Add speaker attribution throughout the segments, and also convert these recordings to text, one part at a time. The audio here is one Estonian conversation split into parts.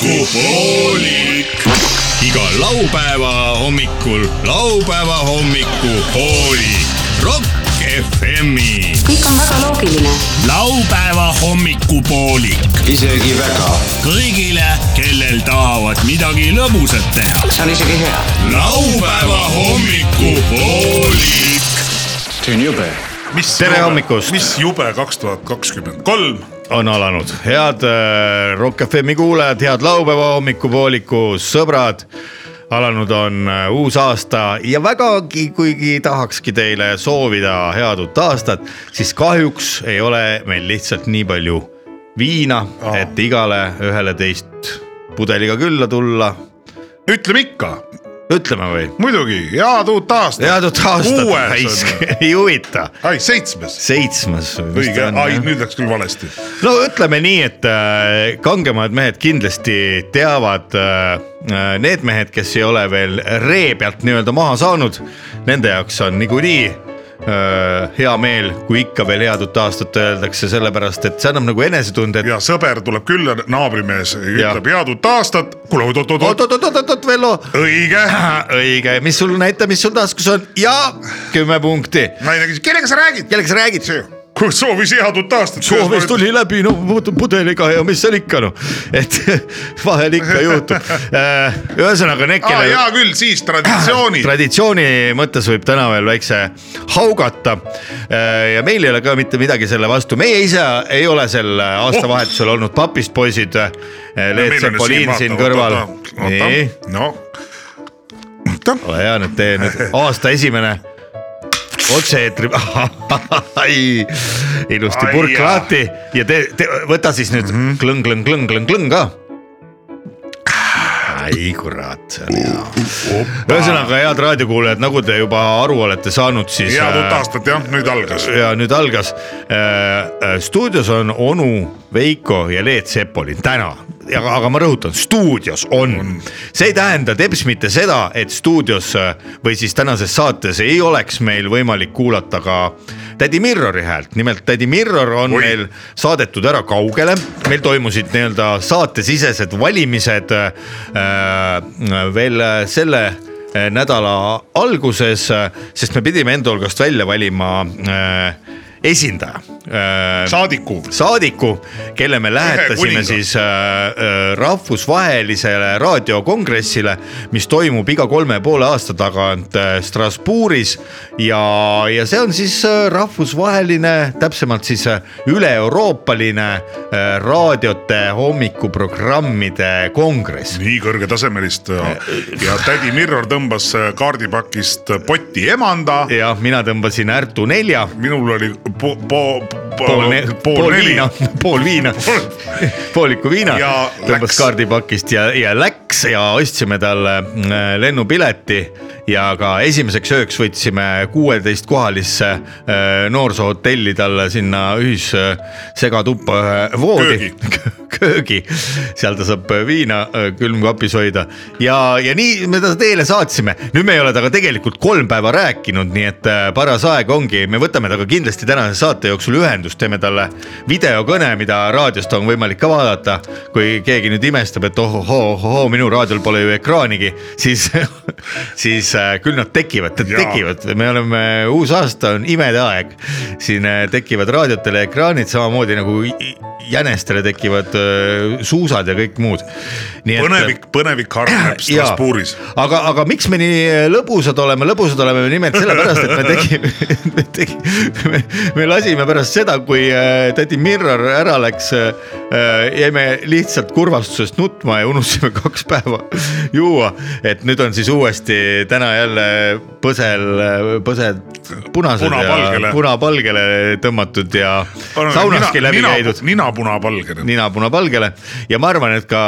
Speaker 1: hommikupoolik . iga laupäeva hommikul laupäeva hommikupoolik . Rock FM-i .
Speaker 2: kõik on väga loogiline .
Speaker 1: laupäeva hommikupoolik
Speaker 3: isegi väga .
Speaker 1: kõigile , kellel tahavad midagi lõbusat teha .
Speaker 3: see on isegi hea .
Speaker 1: laupäeva hommikupoolik .
Speaker 3: see on jube .
Speaker 4: mis
Speaker 5: Tere
Speaker 4: jube-
Speaker 5: hommikust!
Speaker 4: mis jube kaks tuhat kakskümmend kolm .
Speaker 5: on alanud , head äh, Rock FM-i kuulajad , head laupäeva hommikupooliku sõbrad . alanud on äh, uus aasta ja vägagi , kuigi tahakski teile soovida head uut aastat , siis kahjuks ei ole meil lihtsalt nii palju viina , et igale ühele teist pudeliga külla tulla .
Speaker 4: ütleme ikka ,
Speaker 5: ütleme või ?
Speaker 4: muidugi , head uut aastat .
Speaker 5: head uut
Speaker 4: kuues on
Speaker 5: aastat , ei huvita ,
Speaker 4: ai seitsmes ,
Speaker 5: seitsmes .
Speaker 4: õige , ai nüüd läks küll valesti .
Speaker 5: no ütleme nii , et äh, kangemad mehed kindlasti teavad äh, äh, need mehed , kes ei ole veel ree pealt nii-öelda maha saanud , nende jaoks on niikuinii äh, hea meel , kui ikka veel head uut aastat öeldakse , sellepärast et see annab nagu enesetunde , et
Speaker 4: ja sõber tuleb külla , naabrimees
Speaker 5: Ja.
Speaker 4: ütleb head uut aastat . kuule , oot-oot-oot ,
Speaker 5: oot-oot-oot-oot , Vello ,
Speaker 4: õige .
Speaker 5: õige , mis sul näita , mis sul taskus on ja kümme punkti .
Speaker 4: naine küsib , kellega sa räägid ?
Speaker 5: kellega sa räägid ?
Speaker 4: kuule , soovis head uut aastat .
Speaker 5: soovis . tuli läbi , no puutu- pudeliga ja mis seal ikka noh , et vahel ikka juhtub . ühesõnaga need ,
Speaker 4: aa ,
Speaker 5: kellel
Speaker 4: hea küll , siis traditsioonid .
Speaker 5: traditsiooni mõttes võib täna veel väikse haugata . ja meil ei ole ka mitte midagi selle vastu , meie ise ei ole sel aastavahetusel olnud papist poisid . Leet Sepolin siin kõrval . nii ,
Speaker 4: noh ,
Speaker 5: ole hea nüüd tee nüüd aasta esimene otse-eetri , ilusti
Speaker 4: Ai,
Speaker 5: purk
Speaker 4: jaa. Mhm.
Speaker 5: lahti ja tee , võta siis nüüd klõng , klõng , klõng , klõng , klõng ka . ai kurat , see on hea . ühesõnaga , head raadiokuulajad , nagu te juba aru olete saanud , siis . äh,
Speaker 4: head uut aastat jah , nüüd algas .
Speaker 5: ja nüüd algas . stuudios on onu Veiko ja Leet Sepolin täna , aga aga ma rõhutan , stuudios on . see ei tähenda teps mitte seda , et stuudios äh, või siis tänases saates ei oleks meil võimalik kuulata ka tädi Mirrori häält , nimelt tädi Mirror on
Speaker 4: Oi.
Speaker 5: meil meil saadetud ära kaugele , meil toimusid nii-öelda saatesisesed valimised äh, äh, veel selle äh, nädala alguses , sest me pidime enda hulgast välja valima äh, esindaja äh, ,
Speaker 4: saadiku
Speaker 5: saadiku , kelle me lähetasime
Speaker 4: kuninga.
Speaker 5: siis äh, äh, rahvusvahelisele raadiokongressile , mis toimub iga kolme ja poole aasta tagant äh, Strasbourgis ja , ja see on siis äh, rahvusvaheline , täpsemalt siis äh, üle-euroopaline äh, raadiote hommikuprogrammide kongress .
Speaker 4: nii kõrgetasemelist ja tädi Mirror tõmbas kaardipakist poti emanda .
Speaker 5: jah , mina tõmbasin Ärtu nelja ,
Speaker 4: minul oli po- , po- ,
Speaker 5: pool, ne pool, pool
Speaker 4: neli
Speaker 5: viina , pool viina pooliku viina
Speaker 4: Ja ,
Speaker 5: tõmbas
Speaker 4: läks.
Speaker 5: kaardipakist ja , ja läks ja ostsime talle mm, lennupileti ja ka esimeseks ööks võtsime kuueteistkohalisse äh, noorsoohotelli talle sinna ühissegatuppa ühe voodi . köögi , seal ta saab viina äh, külmkapis hoida ja , ja nii me ta teele saatsime . nüüd me ei ole temaga tegelikult kolm päeva rääkinud , nii et äh, paras aeg ongi , me võtame temaga kindlasti tänase saate jooksul ühendust , teeme talle videokõne , mida raadiost on võimalik ka vaadata . kui keegi nüüd imestab , et ohohoo , ohohoo , minu raadiol pole ju ekraanigi , siis , siis äh, küll nad tekivad ,
Speaker 4: Jaa.
Speaker 5: tekivad , me oleme , uus aasta on imede aeg . siin äh, tekivad raadiotele ekraanid samamoodi nagu i- i- jänestele tekivad äh, suusad ja kõik muud . äh,
Speaker 4: põnevik , põnevik hargneb Strasbourgis .
Speaker 5: aga , aga miks me nii äh, lõbusad oleme , lõbusad oleme me nimelt sellepärast , et me tegime , me tegime , me lasime pärast seda , kui äh, tädi Mirror ära läks , jäime lihtsalt kurvastusest nutma ja unustasime kaks päeva juua . et nüüd on siis uuesti täna jälle põsel , põsed punased
Speaker 4: Punapalgele.
Speaker 5: ja punapalgele tõmmatud ja saunaski läbi käidud .
Speaker 4: nina punavalgene .
Speaker 5: nina punapalgele ja ma arvan , et ka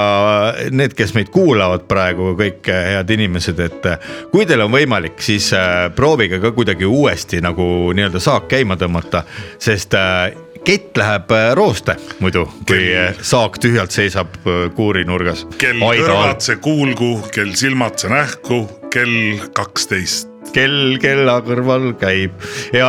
Speaker 5: äh, need , kes meid kuulavad praegu , kõik äh, head inimesed , et äh, kui teil on võimalik , siis äh, proovige ka kuidagi uuesti nagu nii-öelda saak käima tõmmata , sest äh, kett läheb äh, rooste muidu , kui
Speaker 4: Küll.
Speaker 5: äh, saak tühjalt seisab äh, kuurinurgas .
Speaker 4: kel kõrvad see kuulgu , kel silmad see nähku , kell kaksteist .
Speaker 5: kell kella kõrval käib ja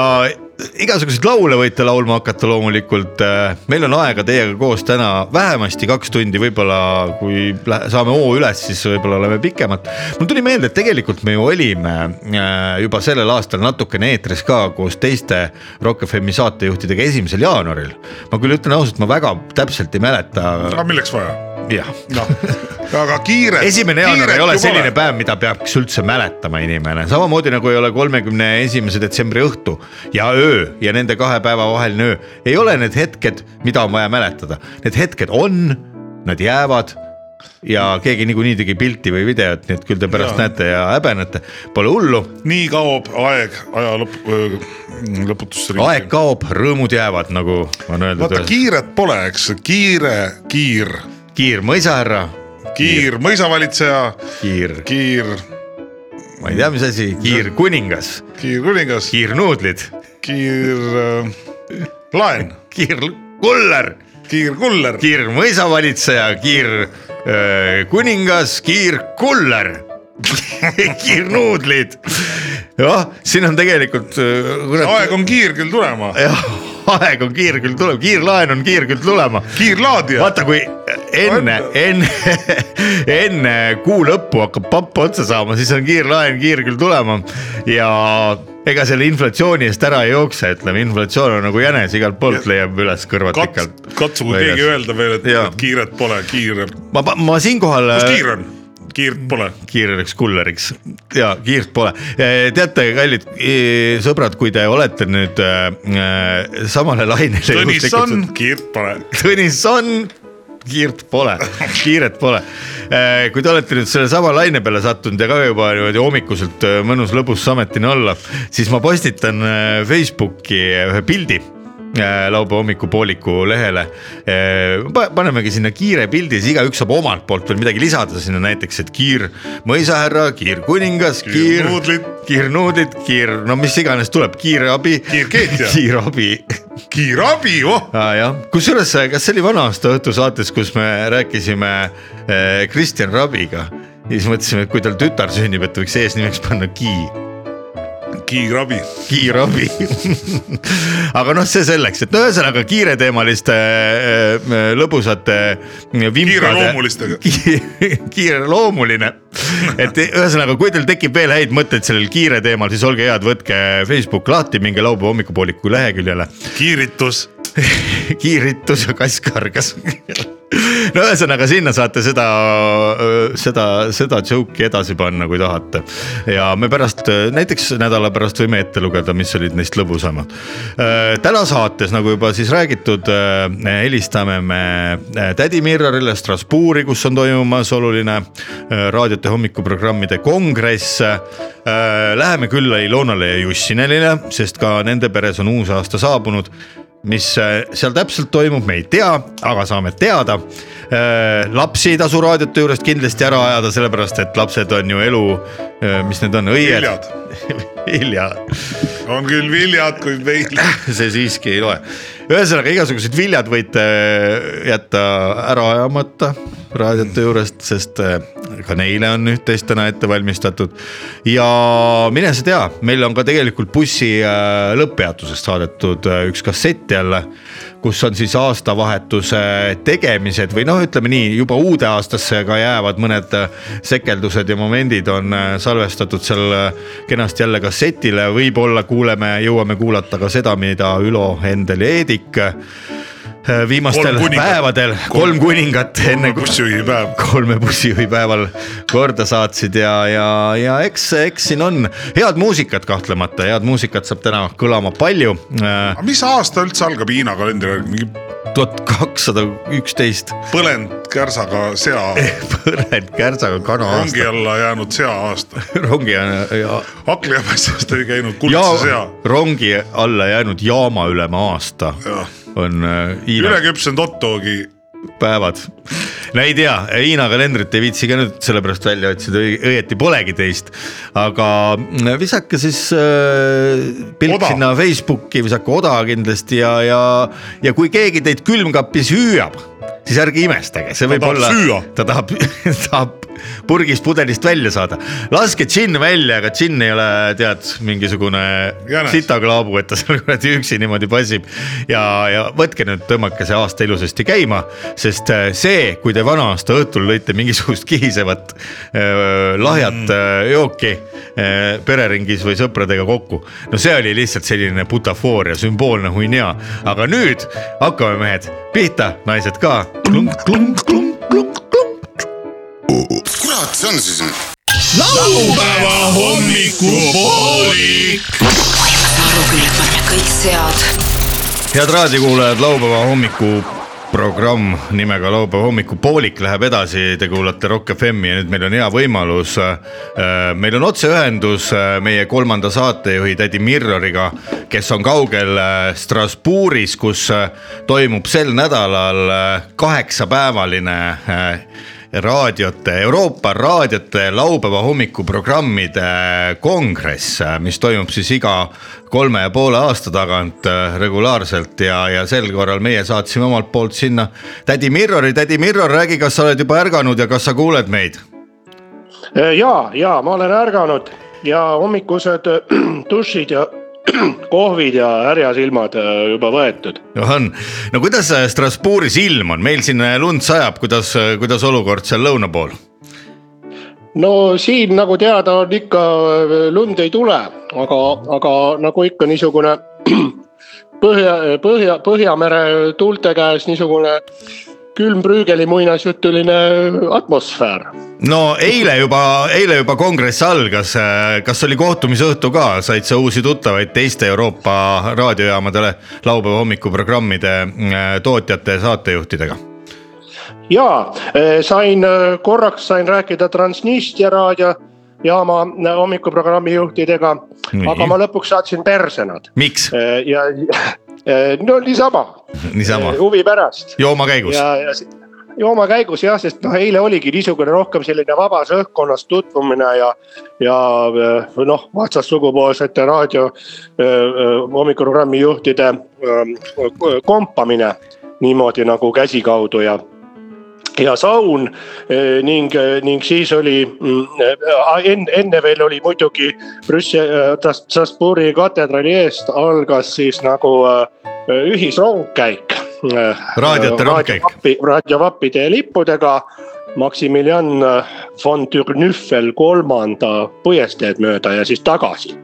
Speaker 5: igasuguseid laule võite laulma hakata loomulikult . meil on aega teiega koos täna vähemasti kaks tundi , võib-olla kui lähe- saame hoo üles , siis võib-olla oleme pikemalt . mul tuli meelde , et tegelikult me ju olime äh, juba sellel aastal natukene eetris ka koos teiste Rock FM-i saatejuhtidega esimesel jaanuaril . ma küll ütlen ausalt , ma väga täpselt ei mäleta .
Speaker 4: aga milleks vaja ?
Speaker 5: jah ,
Speaker 4: noh , aga kiire .
Speaker 5: esimene jaanuar ei ole selline päev , mida peaks üldse mäletama inimene , samamoodi nagu ei ole kolmekümne esimese detsembri õhtu ja öö ja nende kahe päeva vaheline öö . ei ole need hetked , mida on vaja mäletada , need hetked on , nad jäävad ja keegi niikuinii tegi pilti või videot , nii et küll te pärast ja. näete ja häbenete , pole hullu ,
Speaker 4: nii kaob aeg aja lõpp , lõputusse .
Speaker 5: aeg kaob , rõõmud jäävad , nagu on öeldud
Speaker 4: vaata , kiiret pole , eks , kiire , kiir ,
Speaker 5: kiirmõisahärra ,
Speaker 4: kiir mõisavalitseja ,
Speaker 5: kiir ,
Speaker 4: kiir ,
Speaker 5: ma ei tea , mis asi , kiirkuningas ,
Speaker 4: kiirkuningas ,
Speaker 5: kiirnuudlid ,
Speaker 4: kiir äh, laen ,
Speaker 5: kiirkuller
Speaker 4: kiirkuller ,
Speaker 5: kiir mõisavalitseja , kiir öö, kuningas , kiir kuller , kiir nuudlid . jah , siin on tegelikult .
Speaker 4: aeg on kiir küll tulema ,
Speaker 5: aeg on kiir küll tuleb , kiirlaen on kiir küll tulema .
Speaker 4: kiirlaadija ,
Speaker 5: vaata , kui enne , enne , enne kuu lõppu hakkab papp otsa saama , siis on kiirlaen kiir küll tulema ja ega selle inflatsiooni eest ära ei jookse , ütleme , inflatsioon on nagu jänes , igalt poolt leiab üles kõrvad
Speaker 4: kats-
Speaker 5: pikalt .,
Speaker 4: katsugu keegi öelda veel , et
Speaker 5: Jaa. Äh,
Speaker 4: et kiiret pole , kiire ,
Speaker 5: ma , ma siinkohal .
Speaker 4: kus kiir on ? kiirt pole ,
Speaker 5: kiireks kulleriks ja kiirt pole . teate , kallid eh, sõbrad , kui te olete nüüd äh, samale lainele .
Speaker 4: Tõnisson , kiirt pole ,
Speaker 5: Tõnisson , kiirt pole , kiiret pole . kui te olete nüüd selle sama laine peale sattunud ja ka juba niimoodi hommikuselt äh, mõnus lõbus sametini olla , siis ma postitan äh, Facebooki ühe pildi äh, laupäeva hommikupooliku lehele . panemegi sinna kiire pildi , siis igaüks saab omalt poolt veel midagi lisada sinna näiteks , et kiir mõisahärra , kiir kuningas , kiir
Speaker 4: Kiirnuudlid. ,
Speaker 5: kiirnuudlid , kiir , no mis iganes tuleb , kiirabi ,
Speaker 4: Kiirkeetja.
Speaker 5: kiirabi
Speaker 4: kiirabi , voh ,
Speaker 5: ah, . jah , kusjuures , kas see oli vana-aasta õhtu saates , kus me rääkisime eh, Kristjan Rabiga ja siis mõtlesime , et kui tal tütar sünnib , et võiks eesnimeks panna Ki ,
Speaker 4: kiirabi ,
Speaker 5: Ki Rabi . aga noh , see selleks , et no ühesõnaga kiireteemaliste eh, eh, lõbusate .
Speaker 4: Kiireloomulistega. .
Speaker 5: kiireloomuline , et ühesõnaga , kui teil tekib veel häid mõtteid sellel kiire teemal , siis olge head , võtke Facebook lahti , minge laupäeva hommikupooliku leheküljele
Speaker 4: kiiritus ,
Speaker 5: kiiritus ja kass kargas . no ühesõnaga sinna saate seda , seda , seda joke'i edasi panna , kui tahate . ja me pärast , näiteks nädala pärast võime ette lugeda , mis olid neist lõbusamad . täna saates , nagu juba siis räägitud , helistame me äh, tädi Mirrorile Strasbourgi , kus on toimumas oluline äh, raadiote hommikuprogrammide kongress . Läheme külla Ilonale ja Jussinelile , sest ka nende peres on uus aasta saabunud mis äh, seal täpselt toimub , me ei tea , aga saame teada . lapsi ei tasu raadiote juurest kindlasti ära ajada , sellepärast et lapsed on ju elu , mis need on , õied
Speaker 4: viljad ,,
Speaker 5: vilja ,
Speaker 4: on küll viljad , kuid veil ,
Speaker 5: see siiski ei loe . ühesõnaga igasugused viljad võite äh, jätta ära ajamata raadiote juurest , sest äh, ka neile on üht-teist täna ette valmistatud . ja mine sa tea , meil on ka tegelikult bussi äh, lõpppeatusest saadetud äh, üks kassett jälle kus on siis aastavahetuse tegemised või noh , ütleme nii , juba uude aastasse ka jäävad mõned äh, sekeldused ja momendid on äh, salvestatud seal äh, kenasti jälle kassetile , võib-olla kuuleme , jõuame kuulata ka seda , mida Ülo , Endel ja Eedik äh, viimastel
Speaker 4: Kolm
Speaker 5: kolm
Speaker 4: kuningat.
Speaker 5: päevadel , kolm kuningat enne kui
Speaker 4: bussijuhi päev .
Speaker 5: kolme bussijuhi päeval korda saatsid ja , ja , ja eks , eks siin on head muusikat kahtlemata , head muusikat saab täna kõlama palju äh,
Speaker 4: aga mis aasta üldse algab Hiina kalendri järgi , mingi
Speaker 5: tuhat kakssada üksteist
Speaker 4: põlend kärsaga sea ,
Speaker 5: põled kärsaga kana aasta ,
Speaker 4: rongi Eh, alla jäänud sea aasta .
Speaker 5: rongi ja, ja,
Speaker 4: hakklihapassist oli käinud
Speaker 5: ja
Speaker 4: kuldse sea ,
Speaker 5: rongi alla jäänud jaamaülema aasta
Speaker 4: Jah.
Speaker 5: on äh, Hiina Üle...
Speaker 4: üleküpsenud hot dogi ,
Speaker 5: päevad . no ei tea , Hiina kalendrit ei viitsi ka nüüd sellepärast välja otsida , õieti polegi teist , aga mm, visake siis äh, pilk
Speaker 4: Oda.
Speaker 5: oda. sinna Facebooki , visake oda kindlasti ja , ja , ja kui keegi teid külmkapis hüüab , siis ärge imestage , see võib
Speaker 4: tahab
Speaker 5: olla
Speaker 4: süüa. ,
Speaker 5: ta tahab , tahab purgist pudelist välja saada . laske džinn välja , aga džinn ei ole , tead , mingisugune
Speaker 4: Jänes.
Speaker 5: sitaklaabu , et ta seal kuradi üksi niimoodi passib . ja , ja võtke nüüd , tõmmake see aasta ilusasti käima , sest äh, see , kui te vana aasta õhtul lõite mingisugust kihisevat äh, lahjat mm. jooki äh, pereringis või sõpradega kokku . no see oli lihtsalt selline butafooria , sümboolne huinea , aga nüüd hakkame , mehed , pihta , naised ka . klunk , klunk , klunk , klunk , klunk .
Speaker 2: kurat see on siis ?
Speaker 1: laupäeva hommikupoolik .
Speaker 6: Naruküljed panna kõik sead .
Speaker 5: head raadiokuulajad , laupäeva hommikuprogramm nimega laupäeva hommikupoolik läheb edasi , te kuulate Rock FM-i ja nüüd meil on hea võimalus . meil on otseühendus äh, meie kolmanda saatejuhi tädi Mirroriga , kes on kaugel äh, Strasbourgis , kus äh, toimub sel nädalal äh, kaheksapäevaline äh, raadiote , Euroopa raadiote laupäeva hommikuprogrammide kongress , mis toimub siis iga kolme ja poole aasta tagant äh, regulaarselt ja , ja sel korral meie saatsime omalt poolt sinna tädi Mirrori , tädi Mirror , räägi , kas sa oled juba ärganud ja kas sa kuuled meid ?
Speaker 7: ja , ja Äh, ma olen ärganud ja hommikused äh, dušid ja kohvid ja härjasilmad äh, juba võetud .
Speaker 5: on , no kuidas äh, Strasbourgis ilm on , meil siin äh, lund sajab , kuidas , kuidas olukord seal lõuna pool ?
Speaker 7: no siin nagu teada on ikka äh, lund ei tule , aga , aga nagu ikka niisugune põhja , põhja , Põhjamere tuulte käes niisugune külm prügeli muinasjutuline atmosfäär .
Speaker 5: no eile juba , eile juba kongress algas , kas oli kohtumisõhtu ka , said sa uusi tuttavaid teiste Euroopa raadiojaamadele laupäeva hommikuprogrammide äh, tootjate ja saatejuhtidega ?
Speaker 7: ja eh, sain eh, korraks sain rääkida Transnistria raadiojaama eh, hommikuprogrammi juhtidega ,
Speaker 5: Nii.
Speaker 7: aga ma lõpuks saatsin perse nad
Speaker 5: miks ?
Speaker 7: Eh, ja eh, no niisama ,
Speaker 5: niisama ,
Speaker 7: huvi pärast
Speaker 5: joomakäigus
Speaker 7: ja , ja si- jooma käigus jah , sest noh , eile oligi niisugune rohkem selline vabas õhkkonnas tutvumine ja , ja eh, noh , vastassugupoolsete raadio eh, eh, hommikuprogrammi juhtide eh, kompamine niimoodi nagu käsi kaudu ja ja saun eh, ning , ning siis oli enne , enne veel oli muidugi eh, Brüsseli , Strasbourgi katedrali eest algas siis nagu eh, ühisrongkäik . eh,
Speaker 5: Raadiote rongkäik. .
Speaker 7: raadiovappide ja lippudega Maximilian von Türnüffel kolmanda põiesteed mööda ja siis tagasi .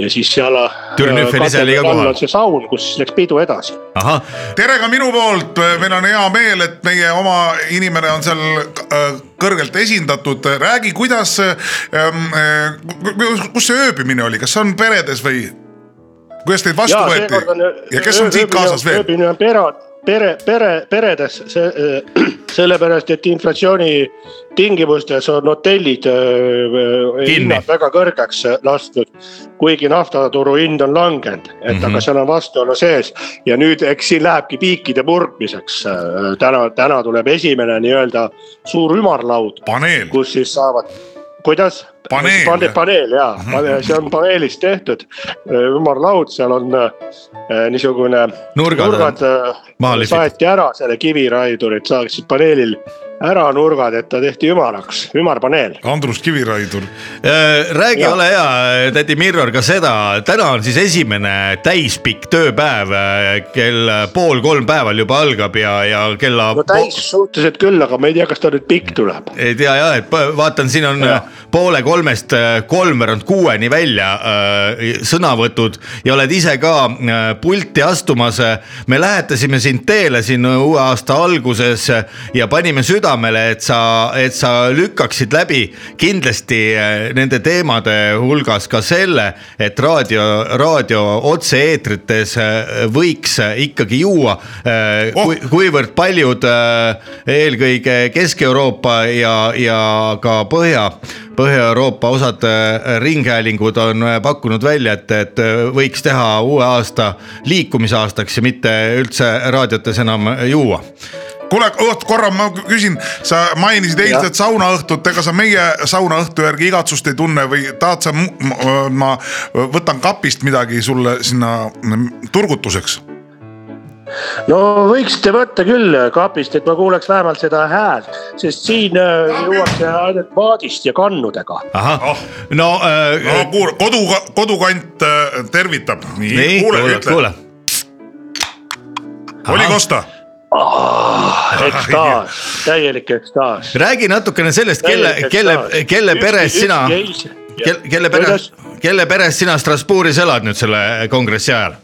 Speaker 7: ja siis seal .
Speaker 5: Türnüffel ise oli ka kohal.
Speaker 7: see saun , kus läks pidu edasi .
Speaker 5: ahah ,
Speaker 4: tere ka minu poolt , meil on hea meel , et meie oma inimene on seal äh, kõrgelt esindatud . räägi , kuidas ähm, , kus see ööbimine oli , kas see on peredes või ? kuidas teid vastu võeti ja kes on siit kaasas veel ?
Speaker 7: ööbimine on pera- , pere , pere , peredes , see , sellepärast et inflatsiooni tingimustes on hotellid öö,
Speaker 5: Kinni.
Speaker 7: hinnad väga kõrgeks äh, lastud . kuigi naftaturu hind on langenud , et mm
Speaker 4: Mhm.
Speaker 7: -hmm. aga seal on vastuolu sees ja nüüd , eks siin lähebki piikide murdmiseks . täna , täna tuleb esimene nii-öelda suur ümarlaud ,
Speaker 4: paneel ,
Speaker 7: kus siis saavad , kuidas ?
Speaker 4: Paneel, jah.
Speaker 7: paneel ja , see on paneelist tehtud ümarlaud , seal on äh, niisugune .
Speaker 5: Nurgad on
Speaker 7: nurgad
Speaker 5: maha
Speaker 7: äh,
Speaker 5: lihvitud.
Speaker 7: saeti ära selle kiviraidurid saaksid paneelil ära nurgad , et ta tehti ümaraks , ümarpaneel .
Speaker 4: Andrus Kiviraidur .
Speaker 5: Äh, räägi ,
Speaker 7: Jaa.
Speaker 5: ole hea , tädi Mirror , ka seda , täna on siis esimene täispikk tööpäev , kell pool kolm päeval juba algab ja , ja kella
Speaker 7: no täis suhteliselt küll , aga ma ei tea , kas ta nüüd pikk tuleb .
Speaker 5: ei tea ja , et pa- vaatan , siin on
Speaker 7: Jah.
Speaker 5: poole kolmest äh, kolmveerand kuueni välja äh, sõnavõtud ja oled ise ka äh, pulti astumas . me lähetasime sind teele siin uue aasta alguses ja panime südamele , et sa , et sa lükkaksid läbi kindlasti äh, nende teemade hulgas ka selle , et raadio , raadio otse-eetrites äh, võiks ikkagi juua äh,
Speaker 4: Oh.
Speaker 5: kui, kuivõrd paljud äh, eelkõige Kesk-Euroopa ja , ja ka Põhja , Põhja-Euroopa osad äh, ringhäälingud on äh, pakkunud välja , et , et äh, võiks teha uue aasta liikumisaastaks ja mitte üldse raadiotes enam juua .
Speaker 4: kuule , oot korra ma küsin , sa mainisid
Speaker 7: Jah.
Speaker 4: eilset saunaõhtut , ega sa meie saunaõhtu järgi igatsust ei tunne või tahad sa , ma võtan kapist midagi sulle sinna mm, turgutuseks ?
Speaker 7: no võiksite võtta küll äh, kapist , et ma kuuleks vähemalt seda häält , sest siin äh, juuakse ainult maadist ja kannudega .
Speaker 5: ahah
Speaker 4: Ah. ,
Speaker 5: no
Speaker 4: no
Speaker 5: äh, .
Speaker 4: kuule , kodu , kodukant äh, tervitab .
Speaker 5: nii ,
Speaker 4: nii , kuule ,
Speaker 5: kuule ,
Speaker 4: ütle
Speaker 5: kuule .,
Speaker 4: oli kosta ?
Speaker 7: ekstaas , täielik ekstaas .
Speaker 5: räägi natukene sellest , kelle , kelle , kelle peres sina , kelle , kelle peres , kelle peres sina Strasbourgis elad nüüd selle kongressi ajal ?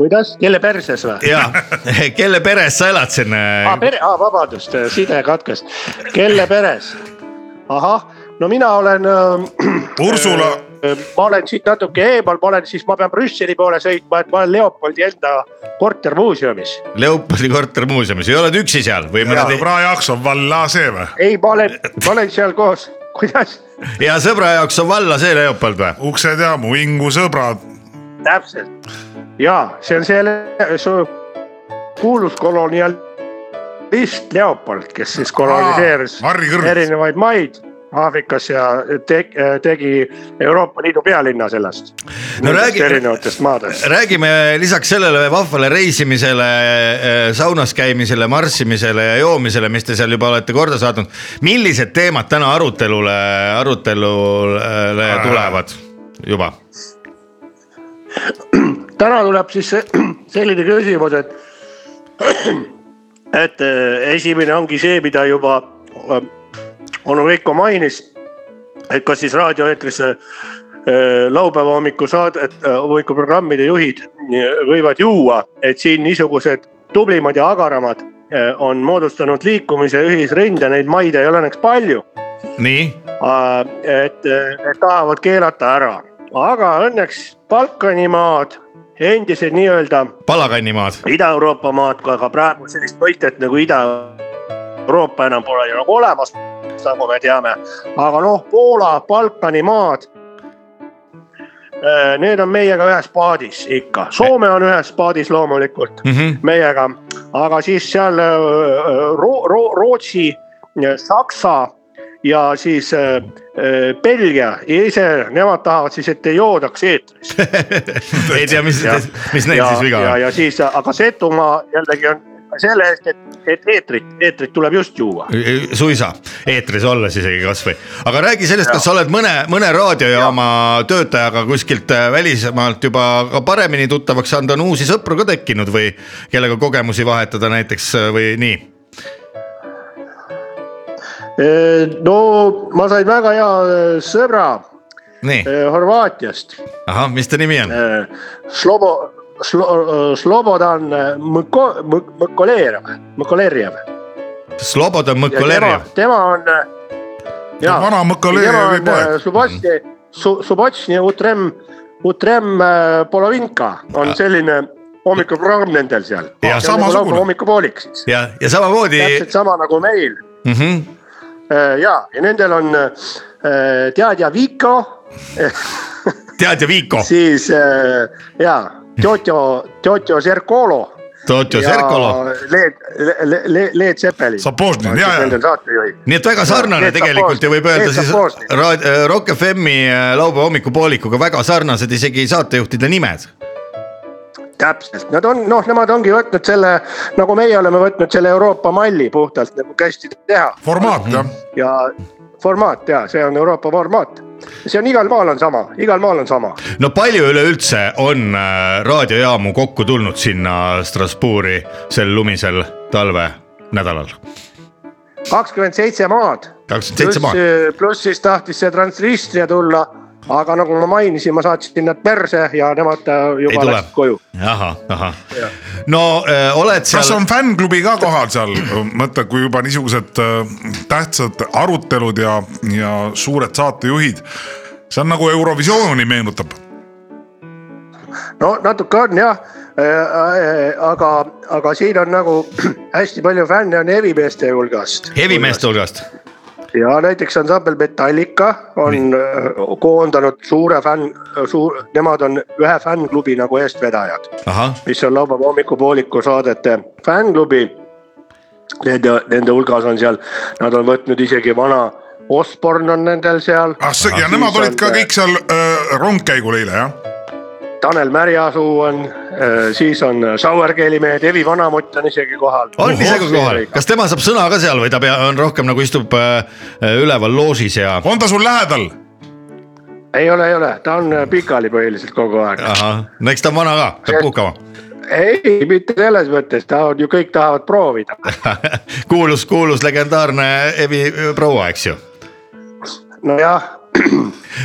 Speaker 7: kuidas , kelle perses või ?
Speaker 5: ja kelle peres sa elad siin ? äh,
Speaker 4: Ah,
Speaker 7: aa , pere , aa , vabandust , side katkes . kelle peres ? ahah , no mina olen äh, ,
Speaker 4: Ursula ,
Speaker 7: ma olen siit natuke eemal , ma olen siis , ma pean Brüsseli poole sõitma , et ma olen Leopoldi enda kortermuuseumis .
Speaker 5: Leopoldi kortermuuseumis , ei ole üksi seal või mõned
Speaker 4: sõbra jaoks on valla see või ?
Speaker 7: ei , ma olen , ma olen seal koos , kuidas ,
Speaker 5: hea sõbra jaoks on valla see Leopold või ?
Speaker 4: uksed ja muingu sõbrad .
Speaker 7: täpselt . ja see on see le- su kuulus kolonialist Leopold , kes siis koloniseeris
Speaker 4: Harri Kõrvits ,
Speaker 7: erinevaid maid Aafrikas ja te, tegi Euroopa Liidu pealinna sellest .
Speaker 5: No räägi-
Speaker 7: erinevatest maadest .
Speaker 5: räägime lisaks sellele vahvale reisimisele , saunas käimisele , marssimisele ja joomisele , mis te seal juba olete korda saatnud . millised teemad täna arutelule , arutelule
Speaker 7: Äh.
Speaker 5: tulevad juba ?
Speaker 7: täna tuleb siis see- selline küsimus , et , et eh, esimene ongi see , mida juba eh, onu Veiko mainis . et kas siis raadioeetris eh, äh, laupäeva hommikusaadet , äh, hommikuprogrammide juhid eh, võivad juua , et siin niisugused tublimad ja agaramad eh, on moodustanud liikumise ühisrinde , neid maid ei ole õnneks palju
Speaker 5: nii ,
Speaker 7: Äh, et, et tahavad keelata ära , aga õnneks Balkani maad , endised nii-öelda
Speaker 5: palakannimaad ,
Speaker 7: Ida-Euroopa maad , aga praegu sellist mõistet nagu Ida-Euroopa enam pole ju nagu olemas , nagu me teame . aga noh , Poola , Balkani maad . Need on meiega ühes paadis ikka , Soome on ühes paadis loomulikult
Speaker 5: mm . -hmm.
Speaker 7: meiega , aga siis seal äh, Ro- , Ro- , Rootsi , Saksa ja siis äh, äh, Belgia ise , nemad tahavad siis , et ei joodaks eetris .
Speaker 5: ei tea , mis , mis neil siis viga
Speaker 7: ja ,
Speaker 5: on .
Speaker 7: ja siis , aga Setumaa jällegi on selle eest , et , et eetrit , eetrit tuleb just juua .
Speaker 5: Äh, suisa eetris olles isegi kasvõi , aga räägi sellest , kas sa oled mõne , mõne raadiojaama töötajaga kuskilt äh, välismaalt juba ka paremini tuttavaks saanud , on uusi sõpru ka tekkinud või kellega kogemusi vahetada näiteks äh, või nii ?
Speaker 7: Äh, no ma sain väga hea äh, sõbra
Speaker 5: nii ,
Speaker 7: äh, Horvaatiast ,
Speaker 5: ahah , mis ta nimi on ?
Speaker 7: Slobo , Slobodan äh, Mõko- , Mõkoleerjev , Mõkoleerjev
Speaker 5: Slobodan
Speaker 7: ja tema
Speaker 5: Mõkolerjev ,,
Speaker 7: tema on . äh,
Speaker 4: vana Mõkolejevi poeg.
Speaker 7: Subotni , Subotni Utrem , Utrem äh, Polovinka
Speaker 5: Äh.
Speaker 7: on selline hommikuprogramm nendel seal .
Speaker 5: Jah,
Speaker 4: samasugune.
Speaker 7: hommikupoolik siis ,
Speaker 5: ja , ja samamoodi
Speaker 7: täpselt sama nagu meil
Speaker 5: mm . -hmm.
Speaker 7: Äh, ja , ja nendel on äh, teadja Viko ,
Speaker 5: tead ja Viiko ,
Speaker 7: siis äh, ja Tjotjo , Tjotjo Serkolo .
Speaker 5: Totjo Serkolo ,
Speaker 7: Leed , Leed , Leed Seppeli .
Speaker 4: Sapožnin, jaa, jaa.
Speaker 7: Nendel saatejuhid .
Speaker 5: nii et väga sarnane
Speaker 7: Leet
Speaker 5: tegelikult ja võib
Speaker 7: Sapožnin,
Speaker 5: öelda
Speaker 7: Leet
Speaker 5: siis
Speaker 7: Sapožnin.
Speaker 5: raad- , Rock FM-i äh, laupäeva hommikupoolikuga väga sarnased isegi saatejuhtide nimed
Speaker 7: täpselt , nad on noh , nemad ongi võtnud selle , nagu meie oleme võtnud selle Euroopa malli puhtalt nagu kästi teha
Speaker 4: formaat jah ,
Speaker 7: ja formaat ja see on Euroopa formaat . see on igal maal on sama , igal maal on sama .
Speaker 5: no palju üleüldse on äh, raadiojaamu kokku tulnud sinna Strasbourgi sel lumisel talvenädalal ?
Speaker 7: kakskümmend seitse maad .
Speaker 5: 27 maad. .
Speaker 7: pluss siis tahtis see Transnistria tulla , aga nagu ma mainisin , ma saatsin nad perse ja nemad äh,
Speaker 5: Ei
Speaker 7: juba
Speaker 5: tule.
Speaker 7: läksid koju .
Speaker 5: ahah , ahah . no äh, oled
Speaker 4: kas
Speaker 5: seal
Speaker 4: on , fännklubi ka kohal seal , mõtle , kui juba niisugused äh, tähtsad arutelud ja , ja suured saatejuhid . see on nagu Eurovisiooni meenutab ,
Speaker 7: no natuke on jah , aga , aga siin on nagu hästi palju fänne on hevimeeste hulgast .
Speaker 5: hevimeeste hulgast ?
Speaker 7: ja näiteks ansambel Metallica on äh, koondanud suure fänn , suur , nemad on ühe fännklubi nagu eestvedajad ,
Speaker 5: ahah ,
Speaker 7: mis on laupäeva hommikupooliku saadete fännklubi . Nende , nende hulgas on seal , nad on võtnud isegi vana Osborne on nendel seal .
Speaker 5: Ah,
Speaker 4: ah see ja nemad olid ka kõik seal äh, rongkäigul eile jah ,
Speaker 7: Tanel Märjasuu on , siis on Sauerkeeli mehed , Evi Vanamutt on isegi kohal .
Speaker 5: on ise ka kohal , kas tema saab sõna ka seal või ta pea- on rohkem nagu istub äh, üleval loožis ja
Speaker 4: on ta sul lähedal ?
Speaker 7: ei ole , ei ole , ta on äh, pikali põhiliselt kogu aeg .
Speaker 5: ahah , no eks ta on vana ka , peab puhkama .
Speaker 7: ei , mitte selles mõttes , ta on ju , kõik tahavad proovida .
Speaker 5: kuulus , kuulus legendaarne Evi proua , eks ju .
Speaker 7: nojah ,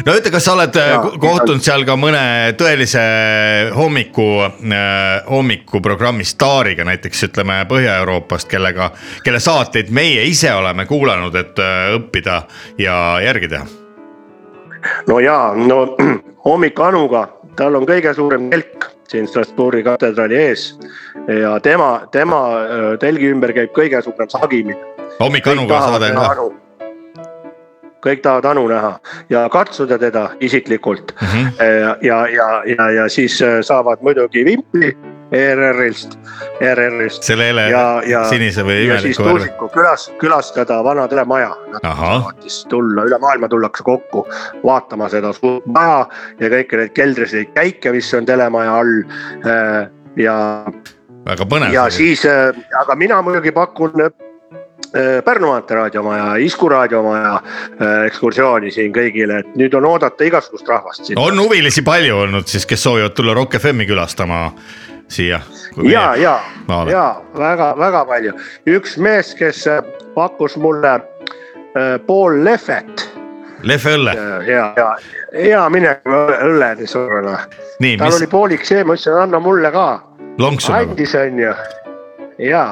Speaker 5: no ütle , kas sa oled äh,
Speaker 7: Jaa,
Speaker 5: ko- kohtunud seal ka mõne tõelise äh, hommiku , hommikuprogrammi staariga , näiteks ütleme Põhja-Euroopast , kellega , kelle saateid meie ise oleme kuulanud , et äh, õppida ja järgi teha .
Speaker 7: no jaa , no hommik Anuga , tal on kõige suurem telk siin Strasbourgi katedraali ees ja tema , tema öö, telgi ümber käib kõige suurem sagimine .
Speaker 5: hommik Anuga saade on ka .
Speaker 7: kõik tahavad Anu näha ja katsuda teda isiklikult mm
Speaker 5: Mhm.
Speaker 7: ja , ja , ja, ja , ja siis öö, saavad muidugi E vimpli ERR-ist , E ERR-ist
Speaker 5: selle hele
Speaker 7: ja , ja ,
Speaker 5: sinise või
Speaker 7: ja siis
Speaker 5: imeliku värvi .
Speaker 7: Tuusiku külas , külastada vana telemaja .
Speaker 5: ahah ,
Speaker 7: siis tulla , üle maailma tullakse kokku vaatama seda suurt maja ja kõiki neid keldriseid käike , mis on telemaja all . ja ,
Speaker 5: väga põnev
Speaker 7: ja . siis , aga mina muidugi pakun äh, Pärnu maantee raadiomaja , Isku raadiomaja äh, ekskursiooni siin kõigile , et nüüd on oodata igasugust rahvast siin .
Speaker 5: on huvilisi palju olnud siis , kes soovivad tulla Rock FM-i külastama siia .
Speaker 7: ja , ja ,
Speaker 5: Maale.
Speaker 7: ja väga-väga palju , üks mees , kes äh, pakkus mulle äh, pool lehvet
Speaker 5: Lehve õlle ,
Speaker 7: ja , ja , ja mine õllesurvele .
Speaker 5: nii ,
Speaker 7: tal
Speaker 5: mis
Speaker 7: oli poolik see , ma ütlesin , anna mulle ka .
Speaker 5: lonksu nagu ,
Speaker 7: andis , onju . ja ,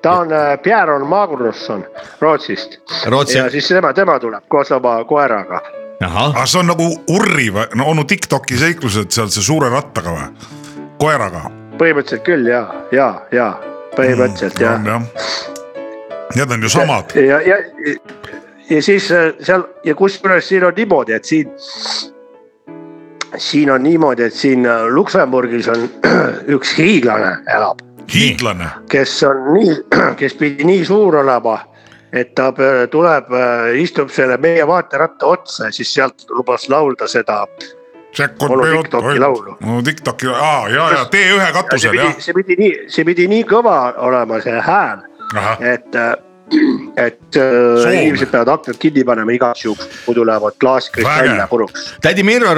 Speaker 7: ta on äh, Pierre Magnusson Rootsist .
Speaker 5: Rootsi
Speaker 7: ja , siis tema , tema tuleb koos oma koeraga .
Speaker 5: ahah ,
Speaker 4: aga see on nagu Urri või , no onu Tiktoki seiklused seal see suure rattaga või , koeraga .
Speaker 7: põhimõtteliselt küll ja , ja , ja põhimõtteliselt ja .
Speaker 4: jah . Need on ju samad ,
Speaker 7: ja , ja , ja siis äh, seal ja kusjuures siin on niimoodi , et siin , siin on niimoodi , et siin äh, Luksemburgis on üks hiiglane elab ,
Speaker 4: hiidlane .
Speaker 7: kes on nii , kes pidi nii suur olema , et ta pöö- tuleb , istub selle meie vaateratta otsa ja siis sealt lubas laulda seda . Onu TikToki laulu.
Speaker 4: onu Tiktoki , aa ja , ja T1
Speaker 7: see
Speaker 4: katusel
Speaker 7: pidi ,
Speaker 4: jah ,
Speaker 7: see pidi nii , see pidi nii kõva olema , see hääl ,
Speaker 4: ahah ,
Speaker 5: Ah.
Speaker 7: et , et äh,
Speaker 4: Soov.
Speaker 7: inimesed peavad aknad kinni panema igaks juhuks , muidu lähevad klaaskrist
Speaker 4: Vägev.
Speaker 7: välja puruks .
Speaker 5: tädi Mirror ,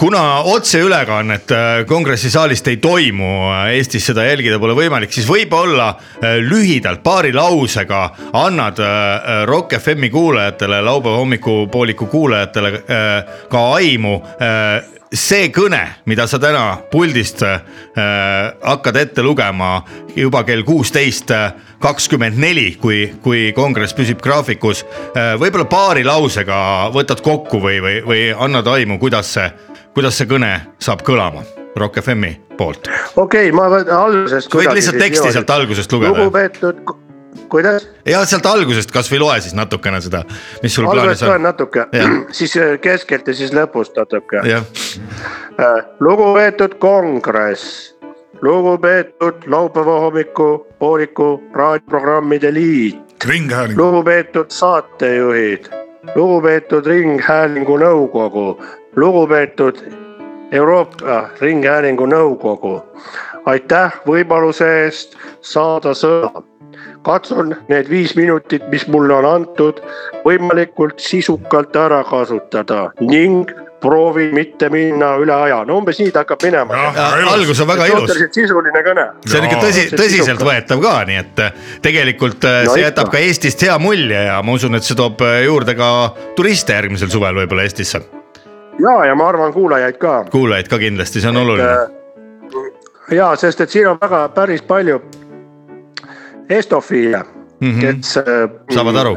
Speaker 5: kuna otseülekannet äh, kongressi saalist ei toimu , Eestis seda jälgida pole võimalik , siis võib-olla äh, lühidalt paari lausega annad äh, äh, Rock FM-i kuulajatele , laupäeva hommikupooliku kuulajatele äh, ka aimu äh, see kõne , mida sa täna puldist äh, hakkad ette lugema juba kell kuusteist äh, kakskümmend neli , kui , kui kongress püsib graafikus äh, , võib-olla paari lausega võtad kokku või , või , või annad aimu , kuidas see , kuidas see kõne saab kõlama Rock FM-i poolt .
Speaker 7: okei okay, , ma võtan algusest .
Speaker 5: võid lihtsalt teksti sealt algusest lugeda.
Speaker 7: lugupeetud , kuidas ?
Speaker 5: ja sealt algusest kasvõi loe siis natukene seda , mis sul plaanis
Speaker 7: algusest loen
Speaker 5: on .
Speaker 7: natuke
Speaker 5: Jah. ,
Speaker 7: siis äh, keskelt ja siis lõpust natuke .
Speaker 5: jah ,
Speaker 7: lugupeetud kongress , lugupeetud laupäeva hommiku pooliku raadioprogrammide liit ,
Speaker 4: ringhääling .
Speaker 7: lugupeetud saatejuhid , lugupeetud Ringhäälingu Nõukogu , lugupeetud Euroopa Ringhäälingu Nõukogu . aitäh võimaluse eest saada sõna . katsun need viis minutit , mis mulle on antud , võimalikult sisukalt ära kasutada ning proovin mitte minna üle aja , no umbes nii ta hakkab minema .
Speaker 5: Äh, algus on Noh, väga ilus
Speaker 7: suhteliselt sisuline kõne .
Speaker 5: see on ikka
Speaker 4: Jaa.
Speaker 5: tõsi ,
Speaker 7: See on
Speaker 5: tõsiseltvõetav ka , nii et äh, tegelikult äh,
Speaker 7: No
Speaker 5: see
Speaker 7: ikka.
Speaker 5: jätab ka Eestist hea mulje ja ma usun , et see toob äh, juurde ka turiste järgmisel suvel võib-olla Eestisse .
Speaker 7: ja , ja ma arvan , kuulajaid ka
Speaker 5: kuulajaid ka kindlasti , see on oluline .
Speaker 7: ja Äh, sest , et siin on väga päris palju estofiile mm ,
Speaker 5: Mhm.
Speaker 7: -hmm. kes .
Speaker 5: Saavad aru. .